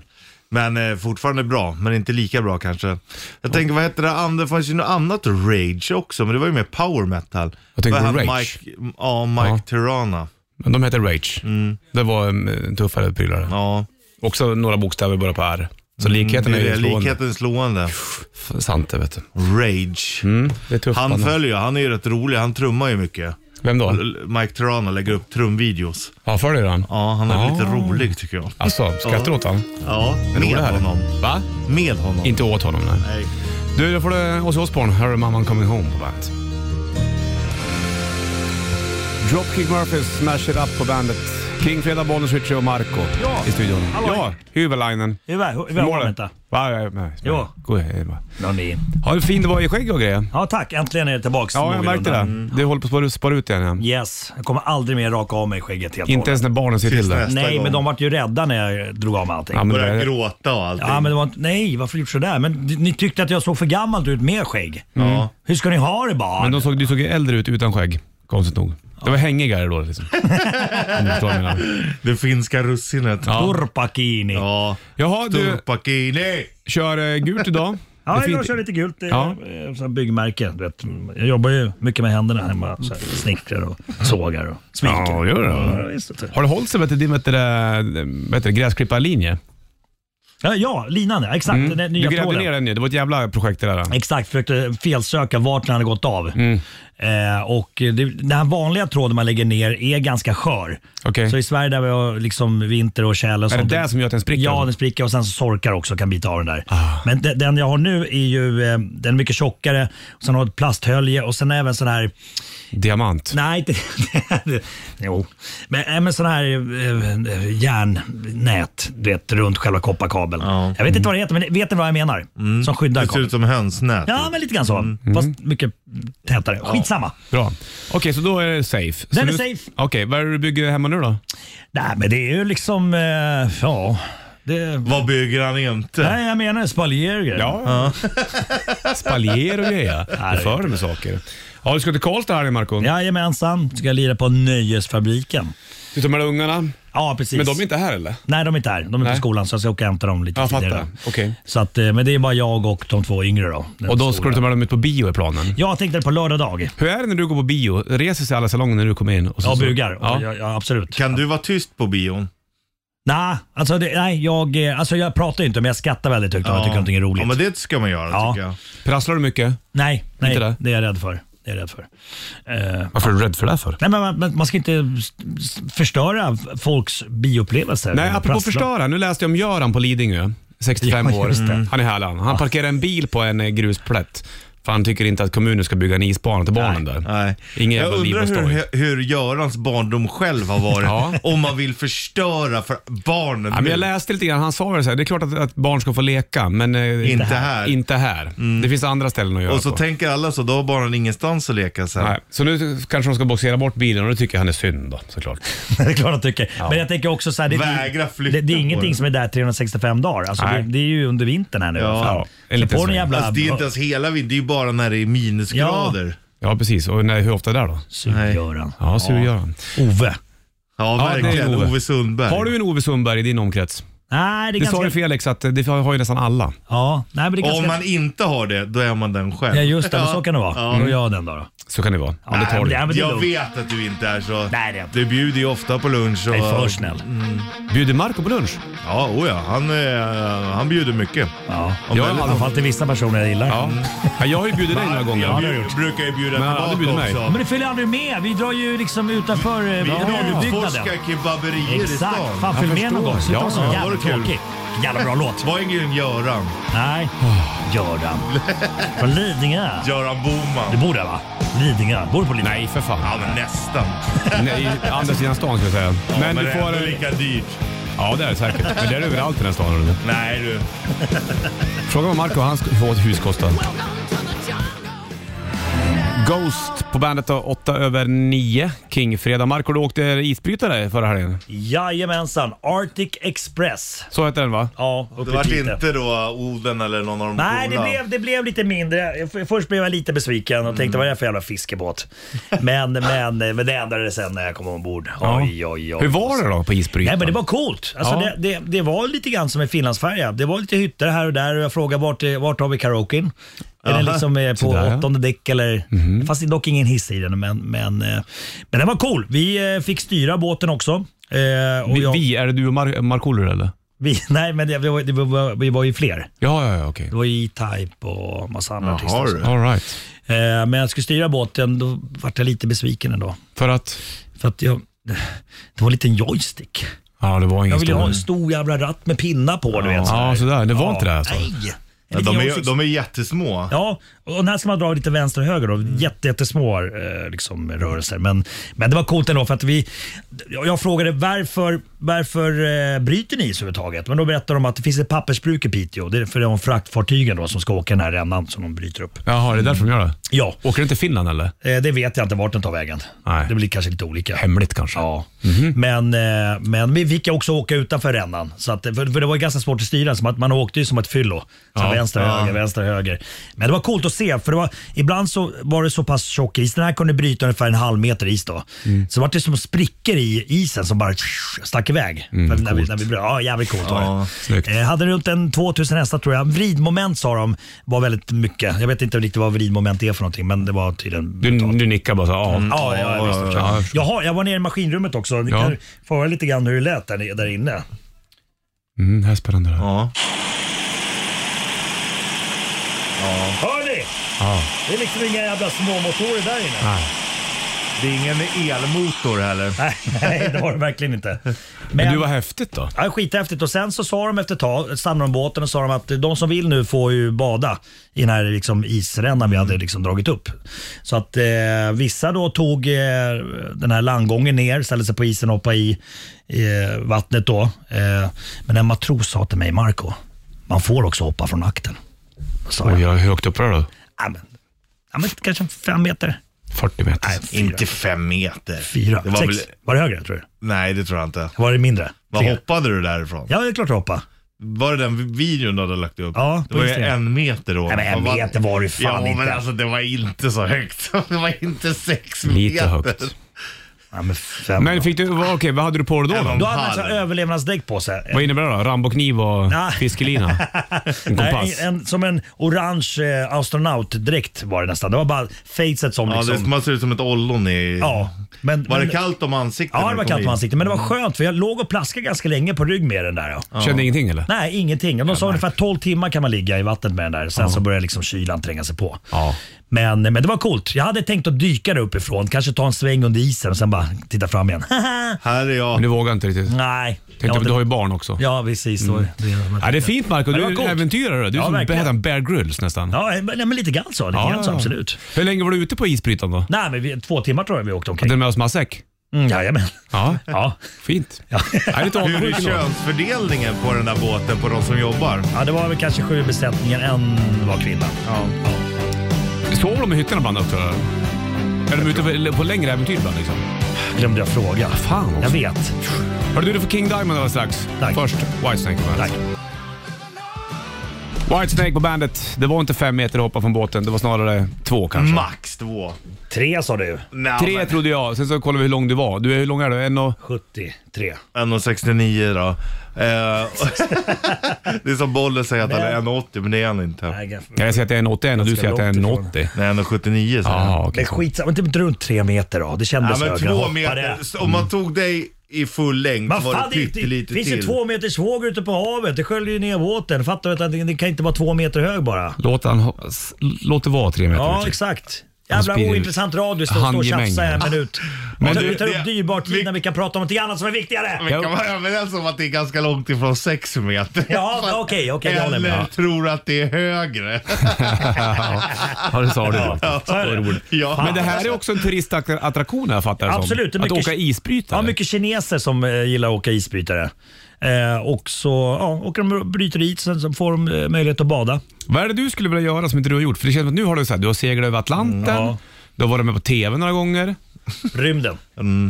[SPEAKER 3] Men eh, fortfarande bra, men inte lika bra kanske. Jag tänker, vad hette det andra? Det fanns ju något annat Rage också, men det var ju mer power metal.
[SPEAKER 2] Jag tänker
[SPEAKER 3] Vad
[SPEAKER 2] på
[SPEAKER 3] han,
[SPEAKER 2] Rage.
[SPEAKER 3] Mike, ja, Mike
[SPEAKER 2] Ja.
[SPEAKER 3] Tirana.
[SPEAKER 2] Men de heter Rage. Det var um, tuffare prylar.
[SPEAKER 3] Ja,
[SPEAKER 2] Också några bokstäver börjar på R. Så likheten
[SPEAKER 3] Mm, det
[SPEAKER 2] är
[SPEAKER 3] är
[SPEAKER 2] ju slående.
[SPEAKER 3] likheten är slående.
[SPEAKER 2] F- Sant det vet du. Mm,
[SPEAKER 3] Rage.
[SPEAKER 2] Det är tufft
[SPEAKER 3] Han
[SPEAKER 2] band.
[SPEAKER 3] följer ju, han är ju rätt rolig, han trummar ju mycket.
[SPEAKER 2] Vem då?
[SPEAKER 3] L- L- Mike Tirana lägger upp trumvideos.
[SPEAKER 2] Ja, följer han?
[SPEAKER 3] Ja, han är väl
[SPEAKER 2] Ah.
[SPEAKER 3] lite rolig tycker jag.
[SPEAKER 2] Alltså, skrattar du åt honom?
[SPEAKER 3] Ja, med
[SPEAKER 2] Rolig här.
[SPEAKER 3] honom.
[SPEAKER 2] Va?
[SPEAKER 3] Med honom.
[SPEAKER 2] Inte åt honom nej.
[SPEAKER 3] Nej.
[SPEAKER 2] Du, då får du Ozzy Osbourne. Här är Mamman Coming Home på bandet. Dropkick Murphys Smash It Up på bandet. King, Fredag, Bollnäs, Richie och Marco
[SPEAKER 7] Ja.
[SPEAKER 2] i studion.
[SPEAKER 7] Hallå.
[SPEAKER 2] Ja, Hyväläinen.
[SPEAKER 7] Hyvä, hyvä huomenta.
[SPEAKER 2] Va, ja, ja,
[SPEAKER 7] Joo.
[SPEAKER 2] God helg va.
[SPEAKER 7] No niin.
[SPEAKER 2] Ja, hur fin du var i skägg och grejer.
[SPEAKER 7] Ja tack, äntligen är det tillbaks.
[SPEAKER 2] Ja, jag märkte
[SPEAKER 7] någorlunda.
[SPEAKER 2] det.
[SPEAKER 7] Mm.
[SPEAKER 2] Du håller på att spara ut igen. Ja.
[SPEAKER 7] Yes, jag kommer aldrig mer raka av mig skägget helt och
[SPEAKER 2] Inte ens när barnen ser till
[SPEAKER 3] Tills
[SPEAKER 2] det.
[SPEAKER 3] nästa
[SPEAKER 7] Nej,
[SPEAKER 3] gång.
[SPEAKER 7] men de vart ju rädda när jag drog av mig allting.
[SPEAKER 2] Ja, men det
[SPEAKER 3] Börjar
[SPEAKER 2] är,
[SPEAKER 3] gråta och allting.
[SPEAKER 7] Ja, men det var inte, nej, varför gjort sådär? Men d- ni tyckte att jag såg för gammalt ut med skägg.
[SPEAKER 3] Ja.
[SPEAKER 7] Hur ska ni ha det barn?
[SPEAKER 2] men de såg, du såg ju äldre ut utan skägg, konstigt nog. Det var hängigare då liksom. Om du förstår vad jag menar.
[SPEAKER 3] Det finska russinet. Ja.
[SPEAKER 7] Turpakini. Ja,
[SPEAKER 2] Jaha, du
[SPEAKER 3] Turpakini.
[SPEAKER 2] kör eh, gult idag. Det är
[SPEAKER 7] jag
[SPEAKER 2] fint.
[SPEAKER 7] kör lite gult. Det är
[SPEAKER 2] Ja.
[SPEAKER 7] eh, sån här byggmärke. Du vet, jag jobbar ju mycket med händerna hemma. Så här, snickrar och sågar och smiker.
[SPEAKER 2] Ja, gör det.
[SPEAKER 7] Ja, visst, vet du.
[SPEAKER 2] Har det hållit sig vet du, din vet du, det, vet du, gräsklipparlinje?
[SPEAKER 7] ja, ja, linan ja. Exakt, den
[SPEAKER 2] Mm. Du
[SPEAKER 7] nya
[SPEAKER 2] grävde
[SPEAKER 7] tråden.
[SPEAKER 2] ner den ju. Det var ett jävla projekt det där.
[SPEAKER 7] Exakt, försökte felsöka vart den hade gått av.
[SPEAKER 2] Mm.
[SPEAKER 7] Eh, och det, den här vanliga tråden man lägger ner är ganska skör.
[SPEAKER 2] Okej.
[SPEAKER 7] Så i Sverige där vi har liksom vinter och tjäle och
[SPEAKER 2] Är det
[SPEAKER 7] sånt.
[SPEAKER 2] det som gör att den spricker? Ah.
[SPEAKER 7] Ja, den spricker och sen så sorkar också kan bita av den där. Men de, den jag har nu är ju eh, den är mycket tjockare. Och sen har jag ett plasthölje och sen även sån här,
[SPEAKER 2] Diamant.
[SPEAKER 7] nej inte, jo. Men även sån här eh, järnnät, du vet runt själva kopparkabeln.
[SPEAKER 3] Ja.
[SPEAKER 7] Jag vet
[SPEAKER 2] Mm.
[SPEAKER 7] inte vad det heter, men vet ni vad jag menar? Som skyddar
[SPEAKER 3] Det ser
[SPEAKER 7] kabeln.
[SPEAKER 3] ut som hönsnät.
[SPEAKER 7] Ja, men lite grann så.
[SPEAKER 2] Mm.
[SPEAKER 7] Fast mycket tätare. Skitsamma.
[SPEAKER 2] Bra. Okej, så då är det safe.
[SPEAKER 7] Den
[SPEAKER 2] så
[SPEAKER 7] är
[SPEAKER 2] du,
[SPEAKER 7] safe.
[SPEAKER 2] Okej, vad är det du bygger hemma nu då?
[SPEAKER 7] Nej, men det är ju liksom... Eh, ja. Det,
[SPEAKER 3] Vad bygger han inte?
[SPEAKER 7] nej, jag menar spaljer
[SPEAKER 2] Ja. Spaljer och grejer. Du för dig med saker. Ja, du ska till Karlstad här Marco.
[SPEAKER 7] Jajamensan. Ska jag lira på Nöjesfabriken.
[SPEAKER 2] Du tar med dig ungarna.
[SPEAKER 7] Ja, precis.
[SPEAKER 2] Men de är inte här eller?
[SPEAKER 7] Nej, de är inte här. De är inte
[SPEAKER 2] Nej.
[SPEAKER 7] i skolan så jag ska åka och hämta dem lite
[SPEAKER 2] Jag
[SPEAKER 7] tidigare.
[SPEAKER 2] fattar. Okej.
[SPEAKER 7] Så att, eh, men det är bara jag och de två yngre då. Den
[SPEAKER 2] Och då ska
[SPEAKER 7] stora.
[SPEAKER 2] du ta med dem ut på bio i planen.
[SPEAKER 7] Jag tänkte på lördag dag.
[SPEAKER 2] Hur är det när du går på bio? Reser sig alla salonger när du kommer in? Och så-
[SPEAKER 7] Jag bugar.
[SPEAKER 2] Ja.
[SPEAKER 7] Ja. Ja, ja, absolut.
[SPEAKER 3] Kan du vara tyst på bion?
[SPEAKER 7] Nej, alltså, det, nej jag, eh, alltså jag pratar ju inte men jag skrattar väldigt högt om jag tycker någonting är roligt.
[SPEAKER 3] Ja, men det ska man göra
[SPEAKER 7] Ja.
[SPEAKER 3] tycker jag.
[SPEAKER 2] Prasslar du mycket?
[SPEAKER 7] Nej, nej
[SPEAKER 2] Inte det?
[SPEAKER 7] det? är jag rädd för. Det är jag rädd för. Eh,
[SPEAKER 2] Varför är du rädd för det här för?
[SPEAKER 7] nej, men man, men man ska inte s- s- förstöra f- folks bioupplevelser.
[SPEAKER 2] Nej,
[SPEAKER 7] Eller
[SPEAKER 2] apropå
[SPEAKER 7] prassla.
[SPEAKER 2] förstöra. Nu läste jag om Göran på Lidingö. 65
[SPEAKER 7] Ja,
[SPEAKER 2] år.
[SPEAKER 7] just det.
[SPEAKER 2] Mm. Han är här han. Han parkerar en bil på en eh, grusplätt. För han tycker inte att kommunen ska bygga en isbana till barnen där.
[SPEAKER 3] Nej.
[SPEAKER 2] Ingen
[SPEAKER 3] jag
[SPEAKER 2] jävla
[SPEAKER 3] undrar
[SPEAKER 2] liv och
[SPEAKER 3] hur, hur Görans barndom själv har varit.
[SPEAKER 2] Ja.
[SPEAKER 3] Om man vill förstöra för barnen.
[SPEAKER 2] Ja, men
[SPEAKER 3] nu.
[SPEAKER 2] jag läste lite grann. Han sa det så här. Det är klart att, att barn ska få leka, men eh,
[SPEAKER 3] Inte här. Mm.
[SPEAKER 2] Inte här. Det finns andra ställen att göra
[SPEAKER 3] och så
[SPEAKER 2] på.
[SPEAKER 3] tänker alla så, då har barnen ingenstans att leka sen.
[SPEAKER 2] alltså. Nej, så nu kanske de ska boxera bort bilen och då tycker jag han är synd då, såklart.
[SPEAKER 7] det är klart jag tycker. Men jag tänker också så här, det,
[SPEAKER 3] Vägra flytta
[SPEAKER 7] det, det är
[SPEAKER 3] på
[SPEAKER 7] ingenting
[SPEAKER 3] det.
[SPEAKER 7] som är där 365 dagar. Alltså, det,
[SPEAKER 2] Nej.
[SPEAKER 7] det är ju under vintern här nu.
[SPEAKER 3] Ja.
[SPEAKER 7] Fan.
[SPEAKER 2] Ja, en
[SPEAKER 7] Så
[SPEAKER 2] liten
[SPEAKER 7] på den
[SPEAKER 2] sväng.
[SPEAKER 7] jävla...
[SPEAKER 3] Alltså, det är inte ens hela vintern, det är ju bara när det är minusgrader.
[SPEAKER 2] Ja, precis. Och nej, hur ofta är det där då?
[SPEAKER 3] Nej.
[SPEAKER 7] Sur-Göran.
[SPEAKER 2] Ja, sur Göran.
[SPEAKER 7] Ove.
[SPEAKER 3] Ja,
[SPEAKER 2] Ja, det är
[SPEAKER 3] verkligen.
[SPEAKER 2] Ove.
[SPEAKER 3] Ove Sundberg.
[SPEAKER 2] Har du en Ove Sundberg i din omkrets?
[SPEAKER 7] Nej, det är
[SPEAKER 2] Det sa
[SPEAKER 7] ganska...
[SPEAKER 2] ju Felix att eh, det har ju nästan alla.
[SPEAKER 7] Ja, nej, men det är
[SPEAKER 3] Och om
[SPEAKER 7] ganska...
[SPEAKER 3] man inte har det, då är man den själv.
[SPEAKER 7] Ja, just det. Men så kan det vara.
[SPEAKER 3] Ja.
[SPEAKER 7] Då är jag den då. då.
[SPEAKER 2] Så kan det vara. Men det
[SPEAKER 7] Nej,
[SPEAKER 2] tar du.
[SPEAKER 7] men det är
[SPEAKER 3] Jag
[SPEAKER 7] lugnt.
[SPEAKER 3] vet att du inte är så.
[SPEAKER 7] Nej, det är jag inte.
[SPEAKER 3] Du bjuder ju ofta på lunch. Och,
[SPEAKER 7] Jag är för snäll.
[SPEAKER 2] Bjuder Marco på lunch?
[SPEAKER 3] Ja, oh ja. Han, eh, han bjuder mycket.
[SPEAKER 7] Ja.
[SPEAKER 3] Om
[SPEAKER 2] Jag
[SPEAKER 3] jag-
[SPEAKER 7] I alla fall till vissa personer jag gillar.
[SPEAKER 2] Ja.
[SPEAKER 3] Mm.
[SPEAKER 2] ja jag har ju bjudit dig några gånger.
[SPEAKER 3] Jag bjud, brukar ju bjuda
[SPEAKER 2] Men han
[SPEAKER 3] tillbaka
[SPEAKER 2] bjuder mig.
[SPEAKER 3] också.
[SPEAKER 7] Men det följer aldrig med. Vi drar ju liksom utanför eh,
[SPEAKER 3] Vi
[SPEAKER 7] radiobyggnaden.
[SPEAKER 3] utforskar kebaberier i
[SPEAKER 7] Exakt.
[SPEAKER 3] stan.
[SPEAKER 7] Fan, följ med någon
[SPEAKER 2] förstår.
[SPEAKER 7] gång. Sluta
[SPEAKER 2] Ja,
[SPEAKER 7] vara så
[SPEAKER 2] ja,
[SPEAKER 7] jävla
[SPEAKER 3] det var kul.
[SPEAKER 7] tråkig. Jävla bra låt.
[SPEAKER 3] Var ingen Göran?
[SPEAKER 7] Nej.
[SPEAKER 2] Ah.
[SPEAKER 7] Göran. Från Lidingö.
[SPEAKER 3] Göran
[SPEAKER 7] Du
[SPEAKER 3] Boman?
[SPEAKER 7] bor där va? Lidingö. Bor du på Lidingö?
[SPEAKER 2] Nej, för
[SPEAKER 3] Ja,
[SPEAKER 2] fan.
[SPEAKER 3] men nästan.
[SPEAKER 2] Nej, andra sidan stan ska jag säga.
[SPEAKER 3] Men,
[SPEAKER 2] Men
[SPEAKER 3] men
[SPEAKER 2] du
[SPEAKER 3] det är
[SPEAKER 2] får...
[SPEAKER 3] ändå lika dyrt.
[SPEAKER 2] Ja, det är det säkert. Men det är det överallt i den här stan. eller?
[SPEAKER 3] Nej du.
[SPEAKER 2] Fråga vad Marco och hans vårt hus kostar. Ghost på bandet då, 8 över 9. King fredag. Marco, du åkte isbrytare förra helgen.
[SPEAKER 7] Jajamensan. Arctic Express.
[SPEAKER 2] Så heter den va?
[SPEAKER 7] Ja, uppe
[SPEAKER 3] Det
[SPEAKER 7] i
[SPEAKER 3] vart
[SPEAKER 7] Piteå.
[SPEAKER 3] inte då Oden eller någon av de
[SPEAKER 7] Nej, det
[SPEAKER 3] coola.
[SPEAKER 7] blev, det blev lite mindre. F- Först blev jag lite besviken och
[SPEAKER 2] Mm.
[SPEAKER 7] tänkte vad är det för jävla fiskebåt? Men, men, men det ändrade sen när jag kom ombord. Oj, oj, oj.
[SPEAKER 2] Hur var det då på
[SPEAKER 7] Nej,
[SPEAKER 2] isbrytaren?
[SPEAKER 7] men det var coolt. Alltså,
[SPEAKER 2] Ja.
[SPEAKER 7] det, det, det var lite grann som en Finlandsfärja. Det var lite hytter här och där och jag frågade vart, eh, vart har vi karaoken? Är den
[SPEAKER 3] Jaha.
[SPEAKER 7] liksom eh, på
[SPEAKER 2] Sådär, ja. Mhm.
[SPEAKER 7] åttonde däck eller? Det fanns dock ingen hiss i den, men, men, eh, men den var cool. Vi eh, fick styra båten också. Eh, och
[SPEAKER 2] vi,
[SPEAKER 7] jag-
[SPEAKER 2] vi, är det du och Mar- Markoolio eller?
[SPEAKER 7] vi? Nej, men det, vi, var, det var, vi var ju fler.
[SPEAKER 2] Ja, ja, ja, okej.
[SPEAKER 7] Det var ju E-Type och massa andra artister.
[SPEAKER 3] Jaha
[SPEAKER 7] också.
[SPEAKER 3] du.
[SPEAKER 2] All right.
[SPEAKER 7] Eh, Men jag skulle styra båten, då vart jag lite besviken ändå.
[SPEAKER 2] För att...
[SPEAKER 7] För att jag, det var en liten joystick.
[SPEAKER 2] Ja, det var ingen
[SPEAKER 7] Jag ville
[SPEAKER 2] stor-
[SPEAKER 7] ha en stor jävla ratt med pinnar på, du vet.
[SPEAKER 2] Ja, sådär. Det var inte det, alltså.
[SPEAKER 7] Nej, Lite
[SPEAKER 3] de, är,
[SPEAKER 7] åsikts-
[SPEAKER 3] de är jättesmå.
[SPEAKER 7] Ja, och här ska man dra lite vänster och höger. Då.
[SPEAKER 2] Mm.
[SPEAKER 7] Jätte, jättesmå eh, liksom, rörelser. Men, men det var coolt ändå för att vi... Jag jag frågade varför, varför eh, bryter ni is överhuvudtaget? Men då berättade de att det finns ett pappersbruk i Piteå. Det är för de fraktfartygen då, som ska åka den här rännan som de bryter upp.
[SPEAKER 2] Jaha, det är därför de gör det?
[SPEAKER 7] Ja,
[SPEAKER 2] Åker du inte till Finland eller?
[SPEAKER 7] eh, det vet jag inte vart den tar vägen.
[SPEAKER 2] Nej.
[SPEAKER 7] Det blir kanske lite olika.
[SPEAKER 2] Hemligt kanske?
[SPEAKER 7] Ja, men, eh, men vi fick också åka utanför rännan. Så att, för, för det var ganska svårt att styra, så att man åkte ju som ett fyllo. Så Vänster, höger, vänster, höger. Men det var coolt att se, för det var, ibland så var det så pass tjock is. Den här kunde bryta ungefär en halv meter is då. Så det var det som sprickor i isen som bara stack iväg. för när vi, när vi, bröt. Mm, ja, jävligt coolt var
[SPEAKER 2] snyggt.
[SPEAKER 7] det. Eh, hade runt en 2000 hästar tror jag. Vridmoment sa de var väldigt mycket. Jag vet inte riktigt vad vridmoment är för någonting, men det var tydligen...
[SPEAKER 2] Du, du nickar bara så, ja.
[SPEAKER 7] Mm. Ja, ja, ja, visst.
[SPEAKER 2] ja, ja, jag förstår.
[SPEAKER 7] Jaha, jag var nere i maskinrummet också. Ni
[SPEAKER 2] Ja.
[SPEAKER 7] kan få höra lite grann hur det lät där, där inne.
[SPEAKER 2] Mm, det här är spännande. det här.
[SPEAKER 3] Ja.
[SPEAKER 7] Hör ni?
[SPEAKER 2] Ja.
[SPEAKER 7] Det är liksom inga jävla småmotorer där inne.
[SPEAKER 2] Nej.
[SPEAKER 3] Det är ingen elmotor heller.
[SPEAKER 7] Nej, nej, det var det verkligen inte.
[SPEAKER 2] Men
[SPEAKER 7] Men-
[SPEAKER 2] du, vad häftigt då.
[SPEAKER 7] Ja, skithäftigt. Och sen så sa de efter ett tag, stannade de båten och sa de att de som vill nu får ju bada i den här liksom isrännan vi hade liksom dragit upp. Så att eh, vissa då tog eh, den här landgången ner, ställde sig på isen och hoppade i eh, vattnet då. Eh, men en matros sa till mig, Marco, man får också hoppa från akten. Då Sa jag,
[SPEAKER 2] Oj, jag är högt uppe där då.
[SPEAKER 7] ja, men, ja, men kanske fem meter.
[SPEAKER 2] 40 meter.
[SPEAKER 7] Nej, fyra.
[SPEAKER 3] Inte fem meter.
[SPEAKER 7] Fyra,
[SPEAKER 3] Det var
[SPEAKER 7] sex.
[SPEAKER 3] väl,
[SPEAKER 7] Var det högre tror du?
[SPEAKER 3] nej, det tror jag inte.
[SPEAKER 7] Var det mindre?
[SPEAKER 3] Vad
[SPEAKER 7] Tre.
[SPEAKER 3] hoppade du därifrån?
[SPEAKER 7] Ja, det är klart att hoppa.
[SPEAKER 3] Var det den videon du hade lagt upp?
[SPEAKER 7] Ja,
[SPEAKER 3] det var ju
[SPEAKER 7] just det.
[SPEAKER 3] en meter då.
[SPEAKER 7] Nej, men en
[SPEAKER 3] Vad
[SPEAKER 7] meter var det ju fan
[SPEAKER 3] ja,
[SPEAKER 7] inte.
[SPEAKER 3] men alltså det var inte så högt. Det var inte sex
[SPEAKER 2] Lite
[SPEAKER 3] meter.
[SPEAKER 2] högt.
[SPEAKER 7] Ja, men fem.
[SPEAKER 2] Men fick du, vad- okej, vad hade du på dig då? då?
[SPEAKER 7] Då hade han så här överlevnadsdäck på sig.
[SPEAKER 2] Vad innebär det då? Rambokniv och
[SPEAKER 7] Ja.
[SPEAKER 2] fiskelina? En
[SPEAKER 7] Nej,
[SPEAKER 2] kompass?
[SPEAKER 7] en, som en orange eh, astronautdräkt var det nästan. Det var bara facet som
[SPEAKER 3] Ja,
[SPEAKER 7] liksom...
[SPEAKER 3] det, man ser ut som ett ollon i...
[SPEAKER 7] ja, men,
[SPEAKER 3] Var
[SPEAKER 7] men,
[SPEAKER 3] det kallt om
[SPEAKER 7] Ja,
[SPEAKER 3] ansiktet? när
[SPEAKER 7] det
[SPEAKER 3] du
[SPEAKER 7] var
[SPEAKER 3] kom
[SPEAKER 7] kallt
[SPEAKER 3] in? Mm.
[SPEAKER 7] om ansiktet. Men det var skönt för jag låg och plaskade ganska länge på rygg med den där. Ja.
[SPEAKER 2] Kände ingenting eller?
[SPEAKER 7] Nej, ingenting. De sa ungefär 12 timmar kan man ligga i vattnet med den där. Sen så började liksom kylan tränga sig på.
[SPEAKER 2] Ja.
[SPEAKER 7] Men, men det var coolt. Jag hade tänkt att dyka där uppifrån, kanske ta en sväng under isen och sen bara titta fram igen.
[SPEAKER 3] Här är
[SPEAKER 2] Men
[SPEAKER 3] jag.
[SPEAKER 2] du vågar inte riktigt?
[SPEAKER 7] Nej.
[SPEAKER 2] Tänkte,
[SPEAKER 7] Ja,
[SPEAKER 2] men
[SPEAKER 7] det-
[SPEAKER 2] du har ju barn också. Ja.
[SPEAKER 7] Ja, precis. Mm.
[SPEAKER 2] det är fint Marco.
[SPEAKER 7] Ja, det
[SPEAKER 2] Du
[SPEAKER 7] var
[SPEAKER 2] är en
[SPEAKER 7] coolt.
[SPEAKER 2] äventyrare. Du är
[SPEAKER 7] Ja,
[SPEAKER 2] som
[SPEAKER 7] verkligen.
[SPEAKER 2] heter Bear Grylls nästan.
[SPEAKER 7] Ja, men, nej, men lite grann så. Lite grann så, absolut.
[SPEAKER 2] Hur länge var du ute på isbrytaren då?
[SPEAKER 7] Nej, men vi, två timmar tror jag vi åkte omkring.
[SPEAKER 2] Hade du med oss matsäck?
[SPEAKER 7] Mm, jajamän.
[SPEAKER 2] Ja,
[SPEAKER 7] Ja.
[SPEAKER 2] fint. Jag är lite
[SPEAKER 3] Hur är
[SPEAKER 2] avundsjuk ändå.
[SPEAKER 3] könsfördelningen på den där båten på de som jobbar?
[SPEAKER 7] ja, det var väl kanske sju i besättningen, en var kvinna.
[SPEAKER 3] Ja.
[SPEAKER 2] Sover de i hytterna ibland också? eller? Är de ute på- på längre äventyr ibland liksom?
[SPEAKER 7] Glömde jag fråga.
[SPEAKER 3] Ah,
[SPEAKER 2] Fan
[SPEAKER 7] Jag
[SPEAKER 2] också.
[SPEAKER 7] vet.
[SPEAKER 2] Hörru du, du får King Diamond alldeles strax.
[SPEAKER 7] Tack.
[SPEAKER 2] Först Whitesnake på bandet.
[SPEAKER 7] Tack.
[SPEAKER 2] Whitesnake på bandet. Det var inte fem meter att hoppa från båten. Det var snarare två kanske.
[SPEAKER 3] Max två.
[SPEAKER 7] Tre sa du.
[SPEAKER 3] Nej,
[SPEAKER 2] Tre
[SPEAKER 3] men-
[SPEAKER 2] trodde jag. Sen så kollade vi hur lång du var. Du, är- hur lång är du? En och...
[SPEAKER 7] 73.
[SPEAKER 3] 1,69 då. Eh, det är som Bolle säger att han är
[SPEAKER 7] Men-
[SPEAKER 3] 1,80 men det är han inte.
[SPEAKER 7] Nej, jag-
[SPEAKER 2] Kan jag säga att jag är en 81 och du
[SPEAKER 7] Ganska
[SPEAKER 2] säger att jag är en
[SPEAKER 7] långt ifrån.
[SPEAKER 2] 80?
[SPEAKER 3] Nej, 1,79 säger han.
[SPEAKER 2] Ja,
[SPEAKER 7] Men
[SPEAKER 2] okej.
[SPEAKER 7] skitsamma, typ runt tre meter då. Det
[SPEAKER 3] Ja,
[SPEAKER 7] kändes
[SPEAKER 3] men
[SPEAKER 7] högre.
[SPEAKER 3] två
[SPEAKER 7] Hoppade.
[SPEAKER 3] meter. Så Om man tog dig i full längd
[SPEAKER 7] Vad
[SPEAKER 3] var
[SPEAKER 7] fan,
[SPEAKER 3] det
[SPEAKER 7] det, det, det
[SPEAKER 3] pyttelite
[SPEAKER 7] finns ju
[SPEAKER 3] till.
[SPEAKER 7] två meters vågor ute på havet. Det sköljer ju ner båten. Fattar du att det, det kan inte vara två meter hög bara?
[SPEAKER 2] Låt, han, ha- s- låt det vara tre meter. liksom.
[SPEAKER 7] Ja,
[SPEAKER 2] Richard.
[SPEAKER 7] exakt.
[SPEAKER 2] Han
[SPEAKER 7] Jävla
[SPEAKER 2] sprider-
[SPEAKER 7] ointressant radio. Stå stå och
[SPEAKER 2] handgemäng.
[SPEAKER 7] tjafsa i en minut. Men
[SPEAKER 3] du-
[SPEAKER 7] vi tar
[SPEAKER 3] det-
[SPEAKER 7] upp dyrbar tid
[SPEAKER 3] vi-
[SPEAKER 7] när vi kan prata om något annat som är viktigare.
[SPEAKER 3] Vi kan vara överens alltså om att det är ganska långt ifrån sex meter.
[SPEAKER 7] Ja, okej, okej, det håller
[SPEAKER 3] Eller
[SPEAKER 7] jag med om.
[SPEAKER 3] eh, tror att det är högre.
[SPEAKER 2] ja, det sa du faktiskt.
[SPEAKER 7] så är
[SPEAKER 2] Det var
[SPEAKER 7] det.
[SPEAKER 2] roligt.
[SPEAKER 3] ja.
[SPEAKER 2] Men det här är också en turistattraktion jag fattar det som.
[SPEAKER 7] Absolut, det är
[SPEAKER 2] Att
[SPEAKER 7] mycket-
[SPEAKER 2] åka isbrytare.
[SPEAKER 7] Ja, mycket kineser som eh, gillar att åka isbrytare. Eh, och så ja, åker de och bryter dit, sen så får de eh, möjlighet att bada.
[SPEAKER 2] Vad är det du skulle vilja göra som inte du har gjort? För det känns som att nu har du, så här, du har seglat över Atlanten,
[SPEAKER 7] Mm, ja.
[SPEAKER 2] du har varit med på TV några gånger.
[SPEAKER 7] Rymden.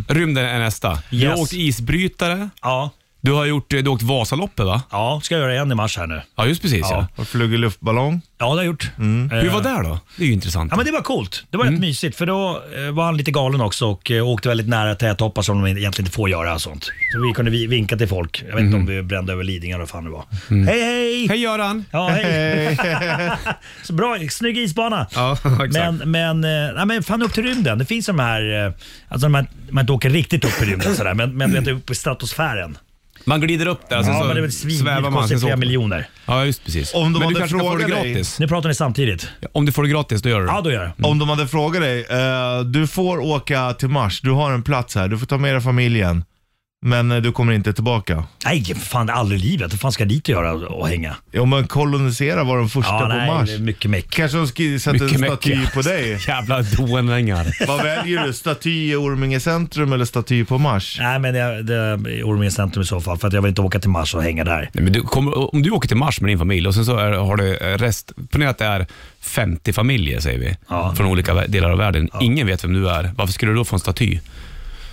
[SPEAKER 2] Rymden är nästa. Du har
[SPEAKER 7] Mm. Yes.
[SPEAKER 2] åkt isbrytare.
[SPEAKER 7] Ja,
[SPEAKER 2] Du har, gjort, du har åkt Vasaloppet va?
[SPEAKER 7] ja, ska jag göra igen i mars här nu.
[SPEAKER 2] Ja, just precis ja. Mm.
[SPEAKER 7] Ja.
[SPEAKER 3] Har flugit luftballong?
[SPEAKER 7] Ja, det har jag gjort. Eh,
[SPEAKER 2] Hur var det Mm. då? Det är ju intressant.
[SPEAKER 7] Ja, men det var coolt. Det var rätt mysigt för då eh, var han lite galen också och eh, åkte väldigt nära tättoppar som de egentligen inte får göra och sånt. Så vi kunde vi- vinka till folk. Jag vet inte om vi brände över Lidingö eller vad fan det var. Hej, hej!
[SPEAKER 2] Mm. Hej Göran!
[SPEAKER 7] Ja, hej. så bra, snygg isbana.
[SPEAKER 2] Ja, exakt.
[SPEAKER 7] men, men, eh, nej, men fan upp till rymden. Det finns de här, eh, alltså man, man inte åker riktigt upp i rymden sådär, men, men vet, du, upp i stratosfären.
[SPEAKER 2] Man glider upp där sen
[SPEAKER 7] Ja,
[SPEAKER 2] Alltså, så
[SPEAKER 7] men det är väl
[SPEAKER 2] svävar
[SPEAKER 7] svindyrt,
[SPEAKER 2] man.
[SPEAKER 7] kostar
[SPEAKER 2] Sen så
[SPEAKER 7] flera
[SPEAKER 2] åker-
[SPEAKER 7] miljoner.
[SPEAKER 2] Ja, just precis.
[SPEAKER 3] Om de
[SPEAKER 2] men
[SPEAKER 3] hade
[SPEAKER 2] du kanske kan få det
[SPEAKER 3] frågat dig-
[SPEAKER 2] gratis?
[SPEAKER 7] Nu pratar ni samtidigt.
[SPEAKER 2] Om du får det gratis, då gör du det.
[SPEAKER 7] Ja, då gör jag.
[SPEAKER 3] Om de hade frågat dig, eh, du får åka till Mars, du har en plats här, du får ta med dig familjen. Men eh, du kommer inte tillbaka.
[SPEAKER 7] Nej, för fan aldrig i livet. Vad fan ska jag dit och göra och, och hänga?
[SPEAKER 3] Om man koloniserar var de första
[SPEAKER 7] Ja,
[SPEAKER 3] på
[SPEAKER 7] nej,
[SPEAKER 3] Mars.
[SPEAKER 7] det är mycket meck.
[SPEAKER 3] Kanske de sk- sätter en
[SPEAKER 2] Mycket
[SPEAKER 3] staty
[SPEAKER 2] mycket.
[SPEAKER 3] på dig.
[SPEAKER 2] Jävla doenängar.
[SPEAKER 3] Vad väljer du? Staty i Orminge centrum eller staty på Mars?
[SPEAKER 7] Nej, men jag, det är Orminge centrum i så fall, för att jag vill inte åka till Mars och hänga där.
[SPEAKER 2] Nej, men du kommer, om du åker till Mars med din familj och sen så är, har du rest, ponera att det är 50 familjer säger vi,
[SPEAKER 7] Ja.
[SPEAKER 2] från olika vä- delar av världen. Ingen vet vem du är. Varför skulle du då få en staty?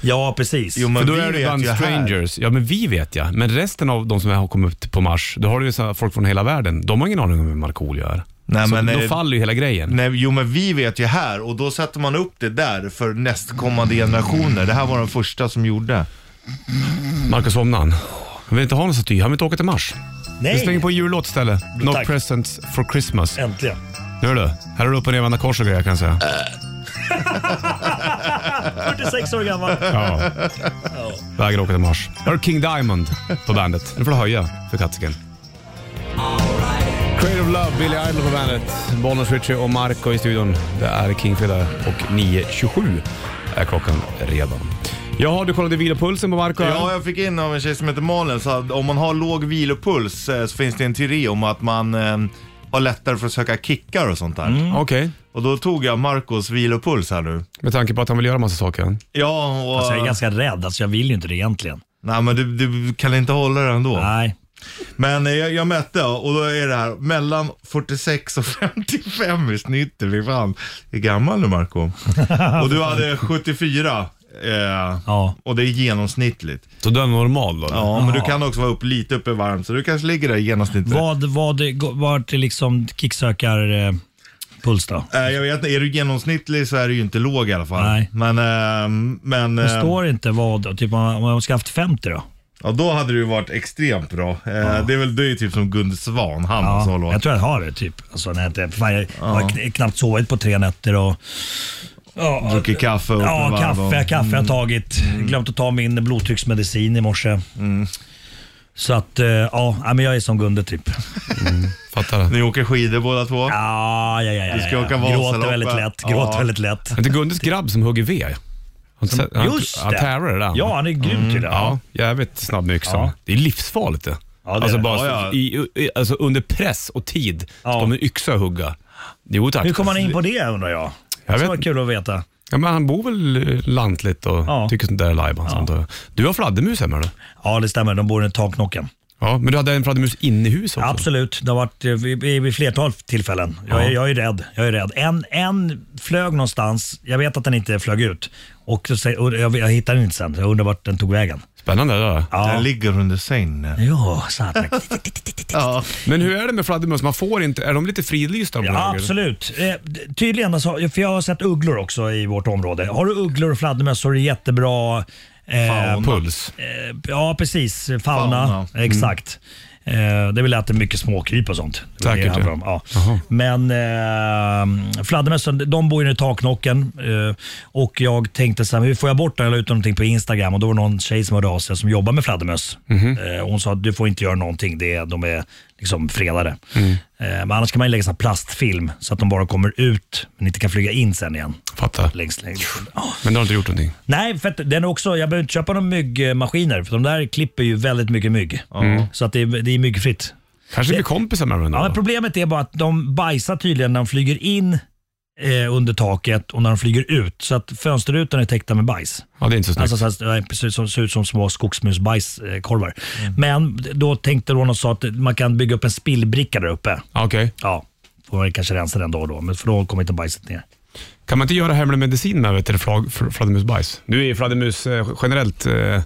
[SPEAKER 7] Ja, precis.
[SPEAKER 3] Jo, men
[SPEAKER 2] För då
[SPEAKER 3] vi
[SPEAKER 2] är det
[SPEAKER 3] vet
[SPEAKER 2] bland
[SPEAKER 3] ju här.
[SPEAKER 2] strangers. Ja, men vi vet ja. Men resten av de som har kommit upp på Mars, då har du ju så här folk från hela världen. De har ingen aning om vem Markoolio är.
[SPEAKER 3] Nej,
[SPEAKER 2] så
[SPEAKER 3] men,
[SPEAKER 2] då
[SPEAKER 3] eh,
[SPEAKER 2] faller ju hela grejen.
[SPEAKER 3] Nej, jo men vi vet ju här och då sätter man upp det där för nästkommande generationer. Det här var de första som gjorde.
[SPEAKER 2] Marcus somnade han. Han vill inte ha någon staty. Han vill inte åka till Mars. Vi slänger
[SPEAKER 7] Nej,
[SPEAKER 2] på en jullåt istället. No
[SPEAKER 7] Tack.
[SPEAKER 2] presents for Christmas.
[SPEAKER 7] äntligen.
[SPEAKER 2] Hör du? Här är du upp och nervända kors och grejer kan jag säga.
[SPEAKER 7] 46 år gammal. Alltså,
[SPEAKER 2] Ja. Vägrar åka till Mars. Här är King Diamond på bandet. Nu får du höja för katsiken. Creative Love, Billy Idol på bandet. Bollnäs Ritchie och Marco i studion. Det är King Fredag och 9.27 är klockan redan. Jaha, du kollade vilopulsen på Marco här.
[SPEAKER 3] Ja, jag fick in av en tjej som heter Malin så att om man har låg vilopuls eh, så finns det en teori om att man eh, har lättare för att söka kickar och sånt där.
[SPEAKER 2] Okej,
[SPEAKER 3] Och då tog jag Marcos vilopuls här nu.
[SPEAKER 2] med tanke på att han vill göra massa saker.
[SPEAKER 3] Ja, och...
[SPEAKER 7] Alltså, jag är ganska rädd, alltså, jag vill ju inte det egentligen.
[SPEAKER 3] Nej, men du, du kan inte hålla det ändå.
[SPEAKER 7] Nej.
[SPEAKER 3] Men eh, jag, jag mätte och då är det här mellan 46 och 55 i snitt. Fy fan, är gammal nu Marco. Och du hade 74. Eh,
[SPEAKER 7] Ja.
[SPEAKER 3] Och det är genomsnittligt.
[SPEAKER 2] Så du är normal då?
[SPEAKER 3] Ja, men du kan också vara upp, lite uppe varm så du kanske ligger där i genomsnittet.
[SPEAKER 7] Vad, vad, vart är liksom kicksökar eh, puls då?
[SPEAKER 3] Eh, jag vet inte, är du genomsnittlig så är du ju inte låg i alla fall.
[SPEAKER 7] Nej.
[SPEAKER 3] Men, eh, men
[SPEAKER 7] Det
[SPEAKER 3] eh,
[SPEAKER 7] står inte vad, då. typ om man- om man ska haft 50 då?
[SPEAKER 3] ja, då hade du ju varit extremt bra. Eh, Det är väl du är ju typ som Gunde Svan, han ja, så
[SPEAKER 7] Ja,
[SPEAKER 3] låg.
[SPEAKER 7] jag tror jag har det typ. Alltså, när jag, inte, fan, jag har kn- knappt sovit på tre nätter och... Ja,
[SPEAKER 3] Druckit kaffe Mm. och
[SPEAKER 7] ja
[SPEAKER 3] varv och-
[SPEAKER 7] kaffe, kaffe har jag tagit. Glömt att ta min blodtrycksmedicin i morse.
[SPEAKER 3] Mm.
[SPEAKER 7] Så att, eh, ja, nej, men jag är som Gunde typ.
[SPEAKER 2] Fattar.
[SPEAKER 3] Ni åker skidor båda två?
[SPEAKER 7] Ja, ja, ja, ja,
[SPEAKER 3] Du ska
[SPEAKER 7] ja.
[SPEAKER 3] åka
[SPEAKER 7] Gråter
[SPEAKER 3] Vasaloppet.
[SPEAKER 7] väldigt lätt. Gråter
[SPEAKER 3] Ja.
[SPEAKER 7] väldigt lätt.
[SPEAKER 2] Det är Gundes grabb som hugger ved. Han, han,
[SPEAKER 7] Just
[SPEAKER 2] han
[SPEAKER 7] det.
[SPEAKER 2] tärar det där. Mm.
[SPEAKER 7] Ja, han är grym till det.
[SPEAKER 2] Ja, jävligt snabb med yxan.
[SPEAKER 7] Ja.
[SPEAKER 2] Det är livsfarligt det.
[SPEAKER 7] det är
[SPEAKER 2] alltså,
[SPEAKER 7] det.
[SPEAKER 2] bara
[SPEAKER 3] Ja, ja.
[SPEAKER 2] I, i, alltså under press och tid
[SPEAKER 7] Ja.
[SPEAKER 2] ska man yxa och hugga. Jo tack.
[SPEAKER 7] Hur kom han in på det undrar jag? Det skulle
[SPEAKER 2] vet
[SPEAKER 7] vara
[SPEAKER 2] inte.
[SPEAKER 7] kul att veta.
[SPEAKER 2] Ja, men han bor väl eh, lantligt och
[SPEAKER 7] Ja.
[SPEAKER 2] tycker sånt där är lajban. sånt där. Du har fladdermus hemma eller?
[SPEAKER 7] Ja, det stämmer. De bor i takknocken.
[SPEAKER 2] Ja, men du hade en fladdermus inne i huset också?
[SPEAKER 7] Absolut, det har varit eh, vid, vid vid flertal tillfällen. Jag, är- jag är rädd. Jag är rädd. En, en flög någonstans, jag vet att den inte flög ut. Och, så, säger- och jag, jag hittar den inte sen, jag undrar vart den tog vägen.
[SPEAKER 2] Spännande det där.
[SPEAKER 3] Den
[SPEAKER 7] Ja,
[SPEAKER 3] ligger under sängen.
[SPEAKER 7] ja satan.
[SPEAKER 3] Ja.
[SPEAKER 2] Men hur är det med fladdermus? Man får inte, är de lite fridlysta? på
[SPEAKER 7] Ja,
[SPEAKER 2] höger?
[SPEAKER 7] absolut. Eh, d- tydligen, alltså, för jag har sett ugglor också i vårt område. Har du ugglor och fladdermöss så är det jättebra eh,
[SPEAKER 3] Fauna.
[SPEAKER 2] Puls.
[SPEAKER 7] Eh, Ja, precis. Fauna. Mm.
[SPEAKER 3] Fauna.
[SPEAKER 7] Exakt. Eh, Det är väl att det är mycket småkryp och sånt. Det är
[SPEAKER 2] Säkert,
[SPEAKER 7] det det handlar om. Ja. Men eh, fladdermössen, de bor ju i takknocken. Eh, och jag tänkte så här, hur får jag bort det? Jag la ut någonting på Instagram och då var det någon tjej som hörde av sig som jobbar med fladdermöss. Eh, hon sa att du får inte göra någonting, det är, de är liksom fredade. Eh, men annars kan man ju lägga sån här plastfilm så att de bara kommer ut men inte kan flyga in sen igen.
[SPEAKER 2] Fattar.
[SPEAKER 7] Längst, längst.
[SPEAKER 2] Men du har inte gjort någonting?
[SPEAKER 7] Nej, för att den är också, jag behöver inte köpa några myggmaskiner för de där klipper ju väldigt mycket mygg. Så att det är, det är myggfritt.
[SPEAKER 2] Kanske blir kompisar med varandra?
[SPEAKER 7] Ja, men
[SPEAKER 2] då?
[SPEAKER 7] problemet är bara att de bajsar tydligen när de flyger in eh, under taket och när de flyger ut. Så att fönsterrutan är täckta med bajs.
[SPEAKER 2] ja, det är inte så snyggt.
[SPEAKER 7] Alltså så här, nej, precis, som, ser ut som små skogsmusbajskorvar. Men då tänkte Ron och sa att man kan bygga upp en spillbricka där uppe.
[SPEAKER 2] Ja, Okej.
[SPEAKER 7] Ja, får man kanske rensa den då och då, men för då kommer inte bajset ner.
[SPEAKER 2] Kan man inte göra hemlig medicin med vet du, flag, fl- fladdermusbajs? Nu är ju fladdermus eh, generellt eh,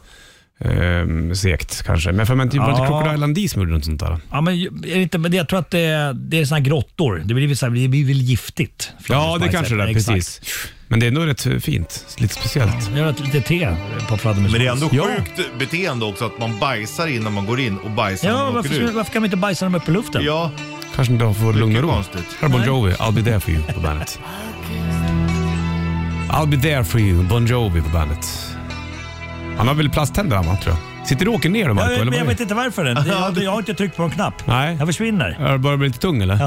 [SPEAKER 2] eh, segt kanske, men för man inte, var det inte
[SPEAKER 7] Ja.
[SPEAKER 2] Crocodile Dundee som gjorde något sånt där?
[SPEAKER 7] Ja, men, ju- är det inte, men det- jag tror att det, det är såna här grottor. Det blir, väl så här, det blir väl giftigt.
[SPEAKER 2] Ja, det
[SPEAKER 7] Fladdermusbajset.
[SPEAKER 2] kanske det är.
[SPEAKER 7] Exakt.
[SPEAKER 2] Precis. Men det är ändå rätt eh, fint. Lite speciellt.
[SPEAKER 7] Jag har ett litet te på fladdermus.
[SPEAKER 3] Men det är ändå
[SPEAKER 2] Ja.
[SPEAKER 3] sjukt beteende också att man bajsar innan man går in och bajsar när
[SPEAKER 7] Ja,
[SPEAKER 3] man åker
[SPEAKER 7] varför,
[SPEAKER 3] ut.
[SPEAKER 7] varför kan man inte bajsa dem upp i luften?
[SPEAKER 3] Ja,
[SPEAKER 2] Kanske inte har fått lugn och
[SPEAKER 3] mycket
[SPEAKER 2] ro.
[SPEAKER 3] konstigt.
[SPEAKER 2] Här är Bon Jovi, I'll be there for you på bandet. I'll be there for you, Bon Jovi på bandet. Han har väl plasttänder han va, tror jag. Sitter du och åker ner då
[SPEAKER 7] Jag,
[SPEAKER 2] Marco?
[SPEAKER 7] vet-
[SPEAKER 2] eller
[SPEAKER 7] men
[SPEAKER 2] vad
[SPEAKER 7] jag
[SPEAKER 2] är
[SPEAKER 7] vet
[SPEAKER 2] det?
[SPEAKER 7] inte varför den. Jag, jag har inte tryckt på en knapp.
[SPEAKER 2] Nej.
[SPEAKER 7] Jag försvinner.
[SPEAKER 2] Är du Börjar bli lite tung eller?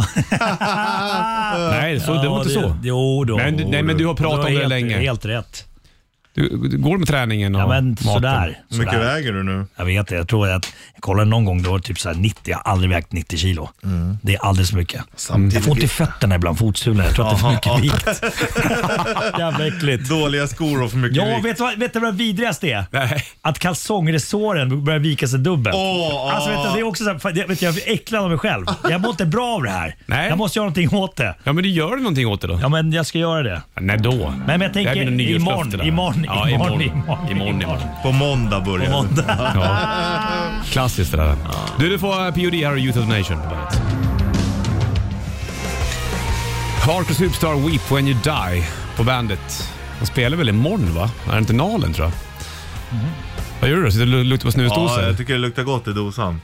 [SPEAKER 2] Nej, så, det var inte så.
[SPEAKER 7] Jo då.
[SPEAKER 2] Men- nej, men du har pratat
[SPEAKER 7] Du
[SPEAKER 2] om det
[SPEAKER 7] helt,
[SPEAKER 2] länge.
[SPEAKER 7] helt rätt.
[SPEAKER 2] Du, du går med träningen och
[SPEAKER 7] Ja, men
[SPEAKER 2] maten.
[SPEAKER 7] sådär.
[SPEAKER 3] Hur mycket
[SPEAKER 7] sådär.
[SPEAKER 3] väger du nu?
[SPEAKER 7] Jag vet det. Jag tror att jag kollade någon gång, då var det typ så här 90. Jag har aldrig vägt 90 kilo.
[SPEAKER 2] Mm.
[SPEAKER 7] Det är alldeles för mycket. Jag får ont i fötterna ibland, fotsulorna. Jag tror att det är för mycket vikt. Jävla äckligt.
[SPEAKER 3] Dåliga skor och för mycket
[SPEAKER 7] Ja,
[SPEAKER 3] vikt.
[SPEAKER 7] vet du vad, vet du vad det vidrigaste är?
[SPEAKER 2] Nej.
[SPEAKER 7] Att kalsongresåren börjar vika sig dubbelt.
[SPEAKER 3] Åh,
[SPEAKER 7] alltså, vet du, det är också så här, fan, jag, vet, du, jag är äcklad av mig själv. Jag mår inte bra av det här.
[SPEAKER 2] Nej.
[SPEAKER 7] Jag måste göra någonting åt det.
[SPEAKER 2] Ja, men du gör någonting åt det då?
[SPEAKER 7] Ja, men jag ska göra det.
[SPEAKER 2] När då?
[SPEAKER 7] Men jag tänker
[SPEAKER 2] Det här blir något
[SPEAKER 7] imorgon,
[SPEAKER 2] nyårslöfte där.
[SPEAKER 7] imorgon,
[SPEAKER 2] ja,
[SPEAKER 7] imorgon,
[SPEAKER 2] imorgon,
[SPEAKER 7] imorgon,
[SPEAKER 2] imorgon, imorgon.
[SPEAKER 3] På måndag börjar
[SPEAKER 7] På
[SPEAKER 3] det.
[SPEAKER 2] Mm.
[SPEAKER 7] måndag.
[SPEAKER 2] Ja. Klassiskt det där. Du, du får eh, POD här och Youth of the Nation på bandet. Hardcore Superstar Weep When You Die på bandet. Han spelar väl imorgon va? Är det inte Nalen tror jag?
[SPEAKER 7] Mm-hmm.
[SPEAKER 2] Vad gör du då? Sitter du och luktar på
[SPEAKER 3] Ja,
[SPEAKER 2] snusdosor? Ja,
[SPEAKER 3] jag tycker det luktar gott i dosan.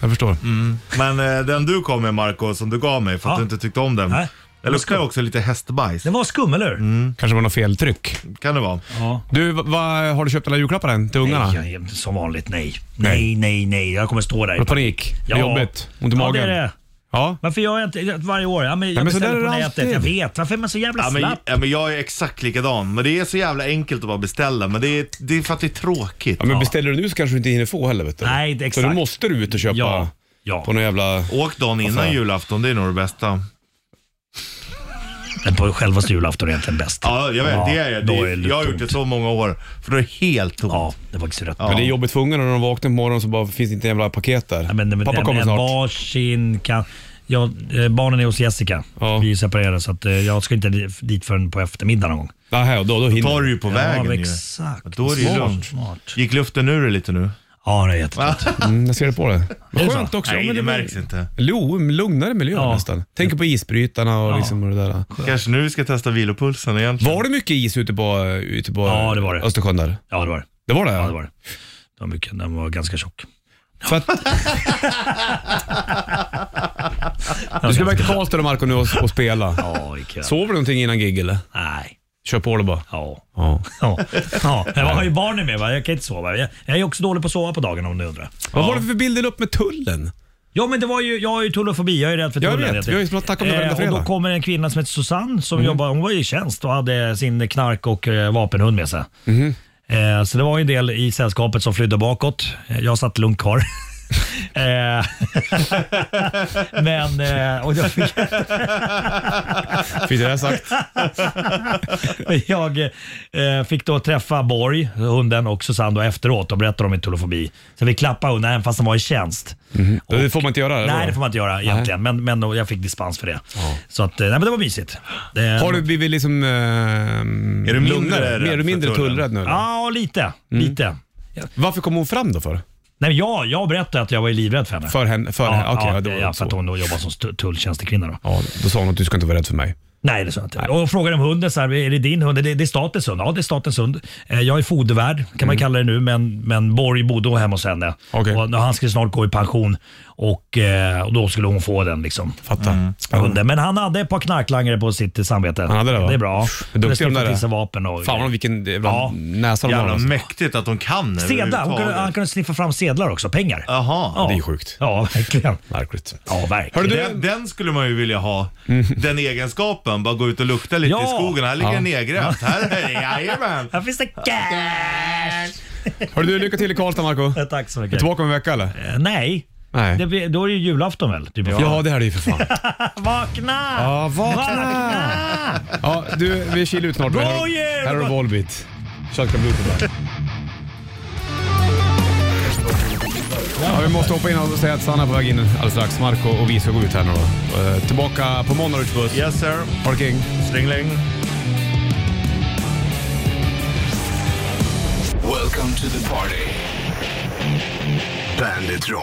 [SPEAKER 2] jag förstår.
[SPEAKER 7] Mm.
[SPEAKER 3] Men eh, den du kom med Marco, som du gav mig för att
[SPEAKER 7] Ja.
[SPEAKER 3] du inte tyckte om den.
[SPEAKER 7] Nej.
[SPEAKER 3] Det luktar också lite hästbajs.
[SPEAKER 7] Den var skum, eller hur?
[SPEAKER 2] Kanske var något feltryck.
[SPEAKER 3] Kan det vara.
[SPEAKER 7] Ja.
[SPEAKER 2] Du, va, va, har du köpt alla julklappar än till ungarna?
[SPEAKER 7] Nej, jag, som vanligt nej. Nej, nej, nej. Jag kommer stå där.
[SPEAKER 2] Har du panik? Det är jobbigt? Ont i
[SPEAKER 7] ja,
[SPEAKER 2] magen?
[SPEAKER 7] det är det.
[SPEAKER 2] Ja.
[SPEAKER 7] Varför gör jag inte varje år? Ja, men jag
[SPEAKER 2] men så där
[SPEAKER 7] beställer
[SPEAKER 2] är
[SPEAKER 7] på
[SPEAKER 2] det
[SPEAKER 7] nätet.
[SPEAKER 2] alltid.
[SPEAKER 7] Jag vet. Varför är man så jävla
[SPEAKER 3] Ja, men,
[SPEAKER 7] slapp?
[SPEAKER 3] ja, men jag är exakt likadan. Men det är så jävla enkelt att bara beställa. Men det är, det är för att det är tråkigt.
[SPEAKER 2] Ja, men beställer du nu så kanske du inte hinner få heller vet du.
[SPEAKER 7] Nej, det-
[SPEAKER 2] Så
[SPEAKER 7] exakt.
[SPEAKER 2] då måste du ut och köpa
[SPEAKER 7] Ja, ja.
[SPEAKER 2] på någon jävla...
[SPEAKER 3] Åk dagen innan
[SPEAKER 2] Varför?
[SPEAKER 3] julafton, det är nog det bästa.
[SPEAKER 7] Men på självaste julafton är egentligen bäst.
[SPEAKER 3] Ja, jag vet. det är,
[SPEAKER 7] då
[SPEAKER 3] det
[SPEAKER 7] är det
[SPEAKER 3] jag har
[SPEAKER 7] tomt.
[SPEAKER 3] gjort det så många år. För då är det helt tomt.
[SPEAKER 7] Ja, det var inte så rätt.
[SPEAKER 2] Men det är jobbigt för ungarna när de vaknar på morgonen så bara finns det inte en jävla paket där.
[SPEAKER 7] Ja, men, men,
[SPEAKER 2] Pappa kommer
[SPEAKER 7] men,
[SPEAKER 2] snart.
[SPEAKER 7] Varsin kan... Ja, eh, barnen är hos Jessica.
[SPEAKER 2] Ja.
[SPEAKER 7] Vi är separerade så att, eh, jag ska inte di- dit förrän på eftermiddagen någon gång.
[SPEAKER 2] Nähä, och då, då hinner
[SPEAKER 3] tar
[SPEAKER 2] du.
[SPEAKER 3] du ju på vägen
[SPEAKER 7] ja,
[SPEAKER 3] ju.
[SPEAKER 7] exakt.
[SPEAKER 3] Då är det ju
[SPEAKER 7] Smart,
[SPEAKER 3] lugnt.
[SPEAKER 7] smart.
[SPEAKER 3] Gick luften ur det lite nu?
[SPEAKER 7] Ja, det är jättetråkigt.
[SPEAKER 2] Mm, jag ser det på det. Vad
[SPEAKER 7] det
[SPEAKER 2] skönt
[SPEAKER 7] så?
[SPEAKER 2] också.
[SPEAKER 3] Nej,
[SPEAKER 2] Ja, men
[SPEAKER 3] det märks inte.
[SPEAKER 2] Jo, lugnare miljö
[SPEAKER 7] Ja.
[SPEAKER 2] nästan. Tänk på isbrytarna och, liksom och det där.
[SPEAKER 3] Kanske nu vi ska testa vilopulsen egentligen.
[SPEAKER 2] Var det mycket is ute på, ute på
[SPEAKER 7] Ja, det var det.
[SPEAKER 2] Östersjön där?
[SPEAKER 7] Ja, det var det.
[SPEAKER 2] Det var det?
[SPEAKER 7] Ja, det var det. Det var mycket. Den var ganska tjock.
[SPEAKER 2] För att, du ska iväg till Karlstad och Marco nu och, och spela.
[SPEAKER 7] Ja, gick jag.
[SPEAKER 2] Sover du någonting innan gig eller?
[SPEAKER 7] Nej.
[SPEAKER 2] Kör på det bara.
[SPEAKER 7] Ja.
[SPEAKER 2] Ja.
[SPEAKER 7] Ja. ja. Jag har ju barnen med. Va? Jag kan inte sova. Jag, jag är också dålig på att sova på dagarna om ni undrar.
[SPEAKER 2] Vad var det för bilder du upp med tullen?
[SPEAKER 7] Ja men det var ju, jag har ju tullofobi, jag är rädd för
[SPEAKER 2] Jag
[SPEAKER 7] tullen.
[SPEAKER 2] vet,
[SPEAKER 7] helt
[SPEAKER 2] vi har ju
[SPEAKER 7] enkelt.
[SPEAKER 2] snackat om det varenda
[SPEAKER 7] och
[SPEAKER 2] fredag. Mm.
[SPEAKER 7] Då kommer en kvinna som heter Susanne som jobbar, hon var i tjänst och hade sin knark och eh, vapenhund med sig.
[SPEAKER 2] Mm-hmm.
[SPEAKER 7] Eh, så det var ju en del i sällskapet som flydde bakåt. Eh, Jag satt lugnt kvar. Eh, men, eh, och jag, fick,
[SPEAKER 2] Fick jag det här sagt?
[SPEAKER 7] jag eh, fick då träffa Borg, hunden och Susanne då efteråt och berättade om min tullofobi. Så vi klappade hunden även fast den var i tjänst.
[SPEAKER 2] Det får man inte göra? eller?
[SPEAKER 7] Nej, det får man inte göra egentligen, men, men då- jag fick dispens för det. Så att, eh, nej, men det var mysigt. Det-
[SPEAKER 2] Har du blivit liksom... Eh, är
[SPEAKER 3] du mindre rädd
[SPEAKER 2] Är
[SPEAKER 3] för
[SPEAKER 2] du mindre
[SPEAKER 3] tullen?
[SPEAKER 2] tullrädd nu? eller?
[SPEAKER 7] Ja, lite.
[SPEAKER 2] Mm.
[SPEAKER 7] lite.
[SPEAKER 2] Varför kom hon fram då för?
[SPEAKER 7] Nej, men jag, jag berättade att jag var ju livrädd för henne.
[SPEAKER 2] För henne? För henne. Okej,
[SPEAKER 7] ja,
[SPEAKER 2] ja, det var
[SPEAKER 7] ja,
[SPEAKER 2] så.
[SPEAKER 7] för att hon då jobbar som stu- tulltjänstekvinna. Då.
[SPEAKER 2] Ja, då sa hon att du ska inte vara rädd för mig.
[SPEAKER 7] Nej, det sa jag inte. Och frågade om hunden, så här, är det din hund? Det, det är statens hund. Ja, det är statens hund. Eh, Jag är fodervärd, kan man kalla det nu, men, men Borg bodde hemma hos henne.
[SPEAKER 2] Mm. Okej.
[SPEAKER 7] Och han skulle snart gå i pension och, eh, och då skulle hon få den. Liksom.
[SPEAKER 2] Fattar.
[SPEAKER 7] Hunden. Men han hade ett par knarklangare på sitt samvete.
[SPEAKER 2] Han hade det, va?
[SPEAKER 7] Det är bra.
[SPEAKER 2] Men duktiga de
[SPEAKER 7] Respektive
[SPEAKER 2] där.
[SPEAKER 7] till sig vapen och
[SPEAKER 2] Fan vad vilken eh, vad
[SPEAKER 7] Ja.
[SPEAKER 2] näsa de har.
[SPEAKER 3] Jävla
[SPEAKER 2] Alltså.
[SPEAKER 3] mäktigt att de kan
[SPEAKER 7] Sedlar. Hon kunde,
[SPEAKER 3] överhuvudtaget.
[SPEAKER 7] han kunde sniffa fram sedlar också. Pengar.
[SPEAKER 3] Jaha.
[SPEAKER 7] Ja.
[SPEAKER 2] Det är ju sjukt.
[SPEAKER 7] Ja, verkligen.
[SPEAKER 2] Märkligt.
[SPEAKER 7] Ja, verkligen.
[SPEAKER 2] Hörru, du-
[SPEAKER 3] Den, den skulle man ju vilja ha. Den egenskapen. Bara gå ut och lukta lite
[SPEAKER 7] Mm. Ja.
[SPEAKER 3] i skogen. Här ligger en nedgrävt. Här är Jajamän.
[SPEAKER 7] Här finns det cash!
[SPEAKER 2] Hörru du, lycka till i Karlstad Marco. Är
[SPEAKER 7] Tack så
[SPEAKER 2] du
[SPEAKER 7] mycket.
[SPEAKER 2] tillbaka om en vecka eller?
[SPEAKER 7] Eh, Nej.
[SPEAKER 2] Nej.
[SPEAKER 7] Det, blir- då är det ju julafton väl? Typ.
[SPEAKER 2] Ja, det här är det ju för fan.
[SPEAKER 7] Vakna!
[SPEAKER 2] Ja, vakna!
[SPEAKER 7] Vakna!
[SPEAKER 2] Ja, du, vi kilar ut snart.
[SPEAKER 7] Gå
[SPEAKER 2] Här har-
[SPEAKER 7] igen!
[SPEAKER 2] Här har du Volbeat. Shotgun Blue på bandet. Ja, vi måste hoppa in och säga att Sanna är på väg in alldeles strax. Marco och vi ska gå ut här nu då. Eh, Tillbaka på måndag Rich Puss.
[SPEAKER 3] Yes sir.
[SPEAKER 2] Ha det king.
[SPEAKER 3] Stringling.
[SPEAKER 5] Welcome to the party. Bandit Rock.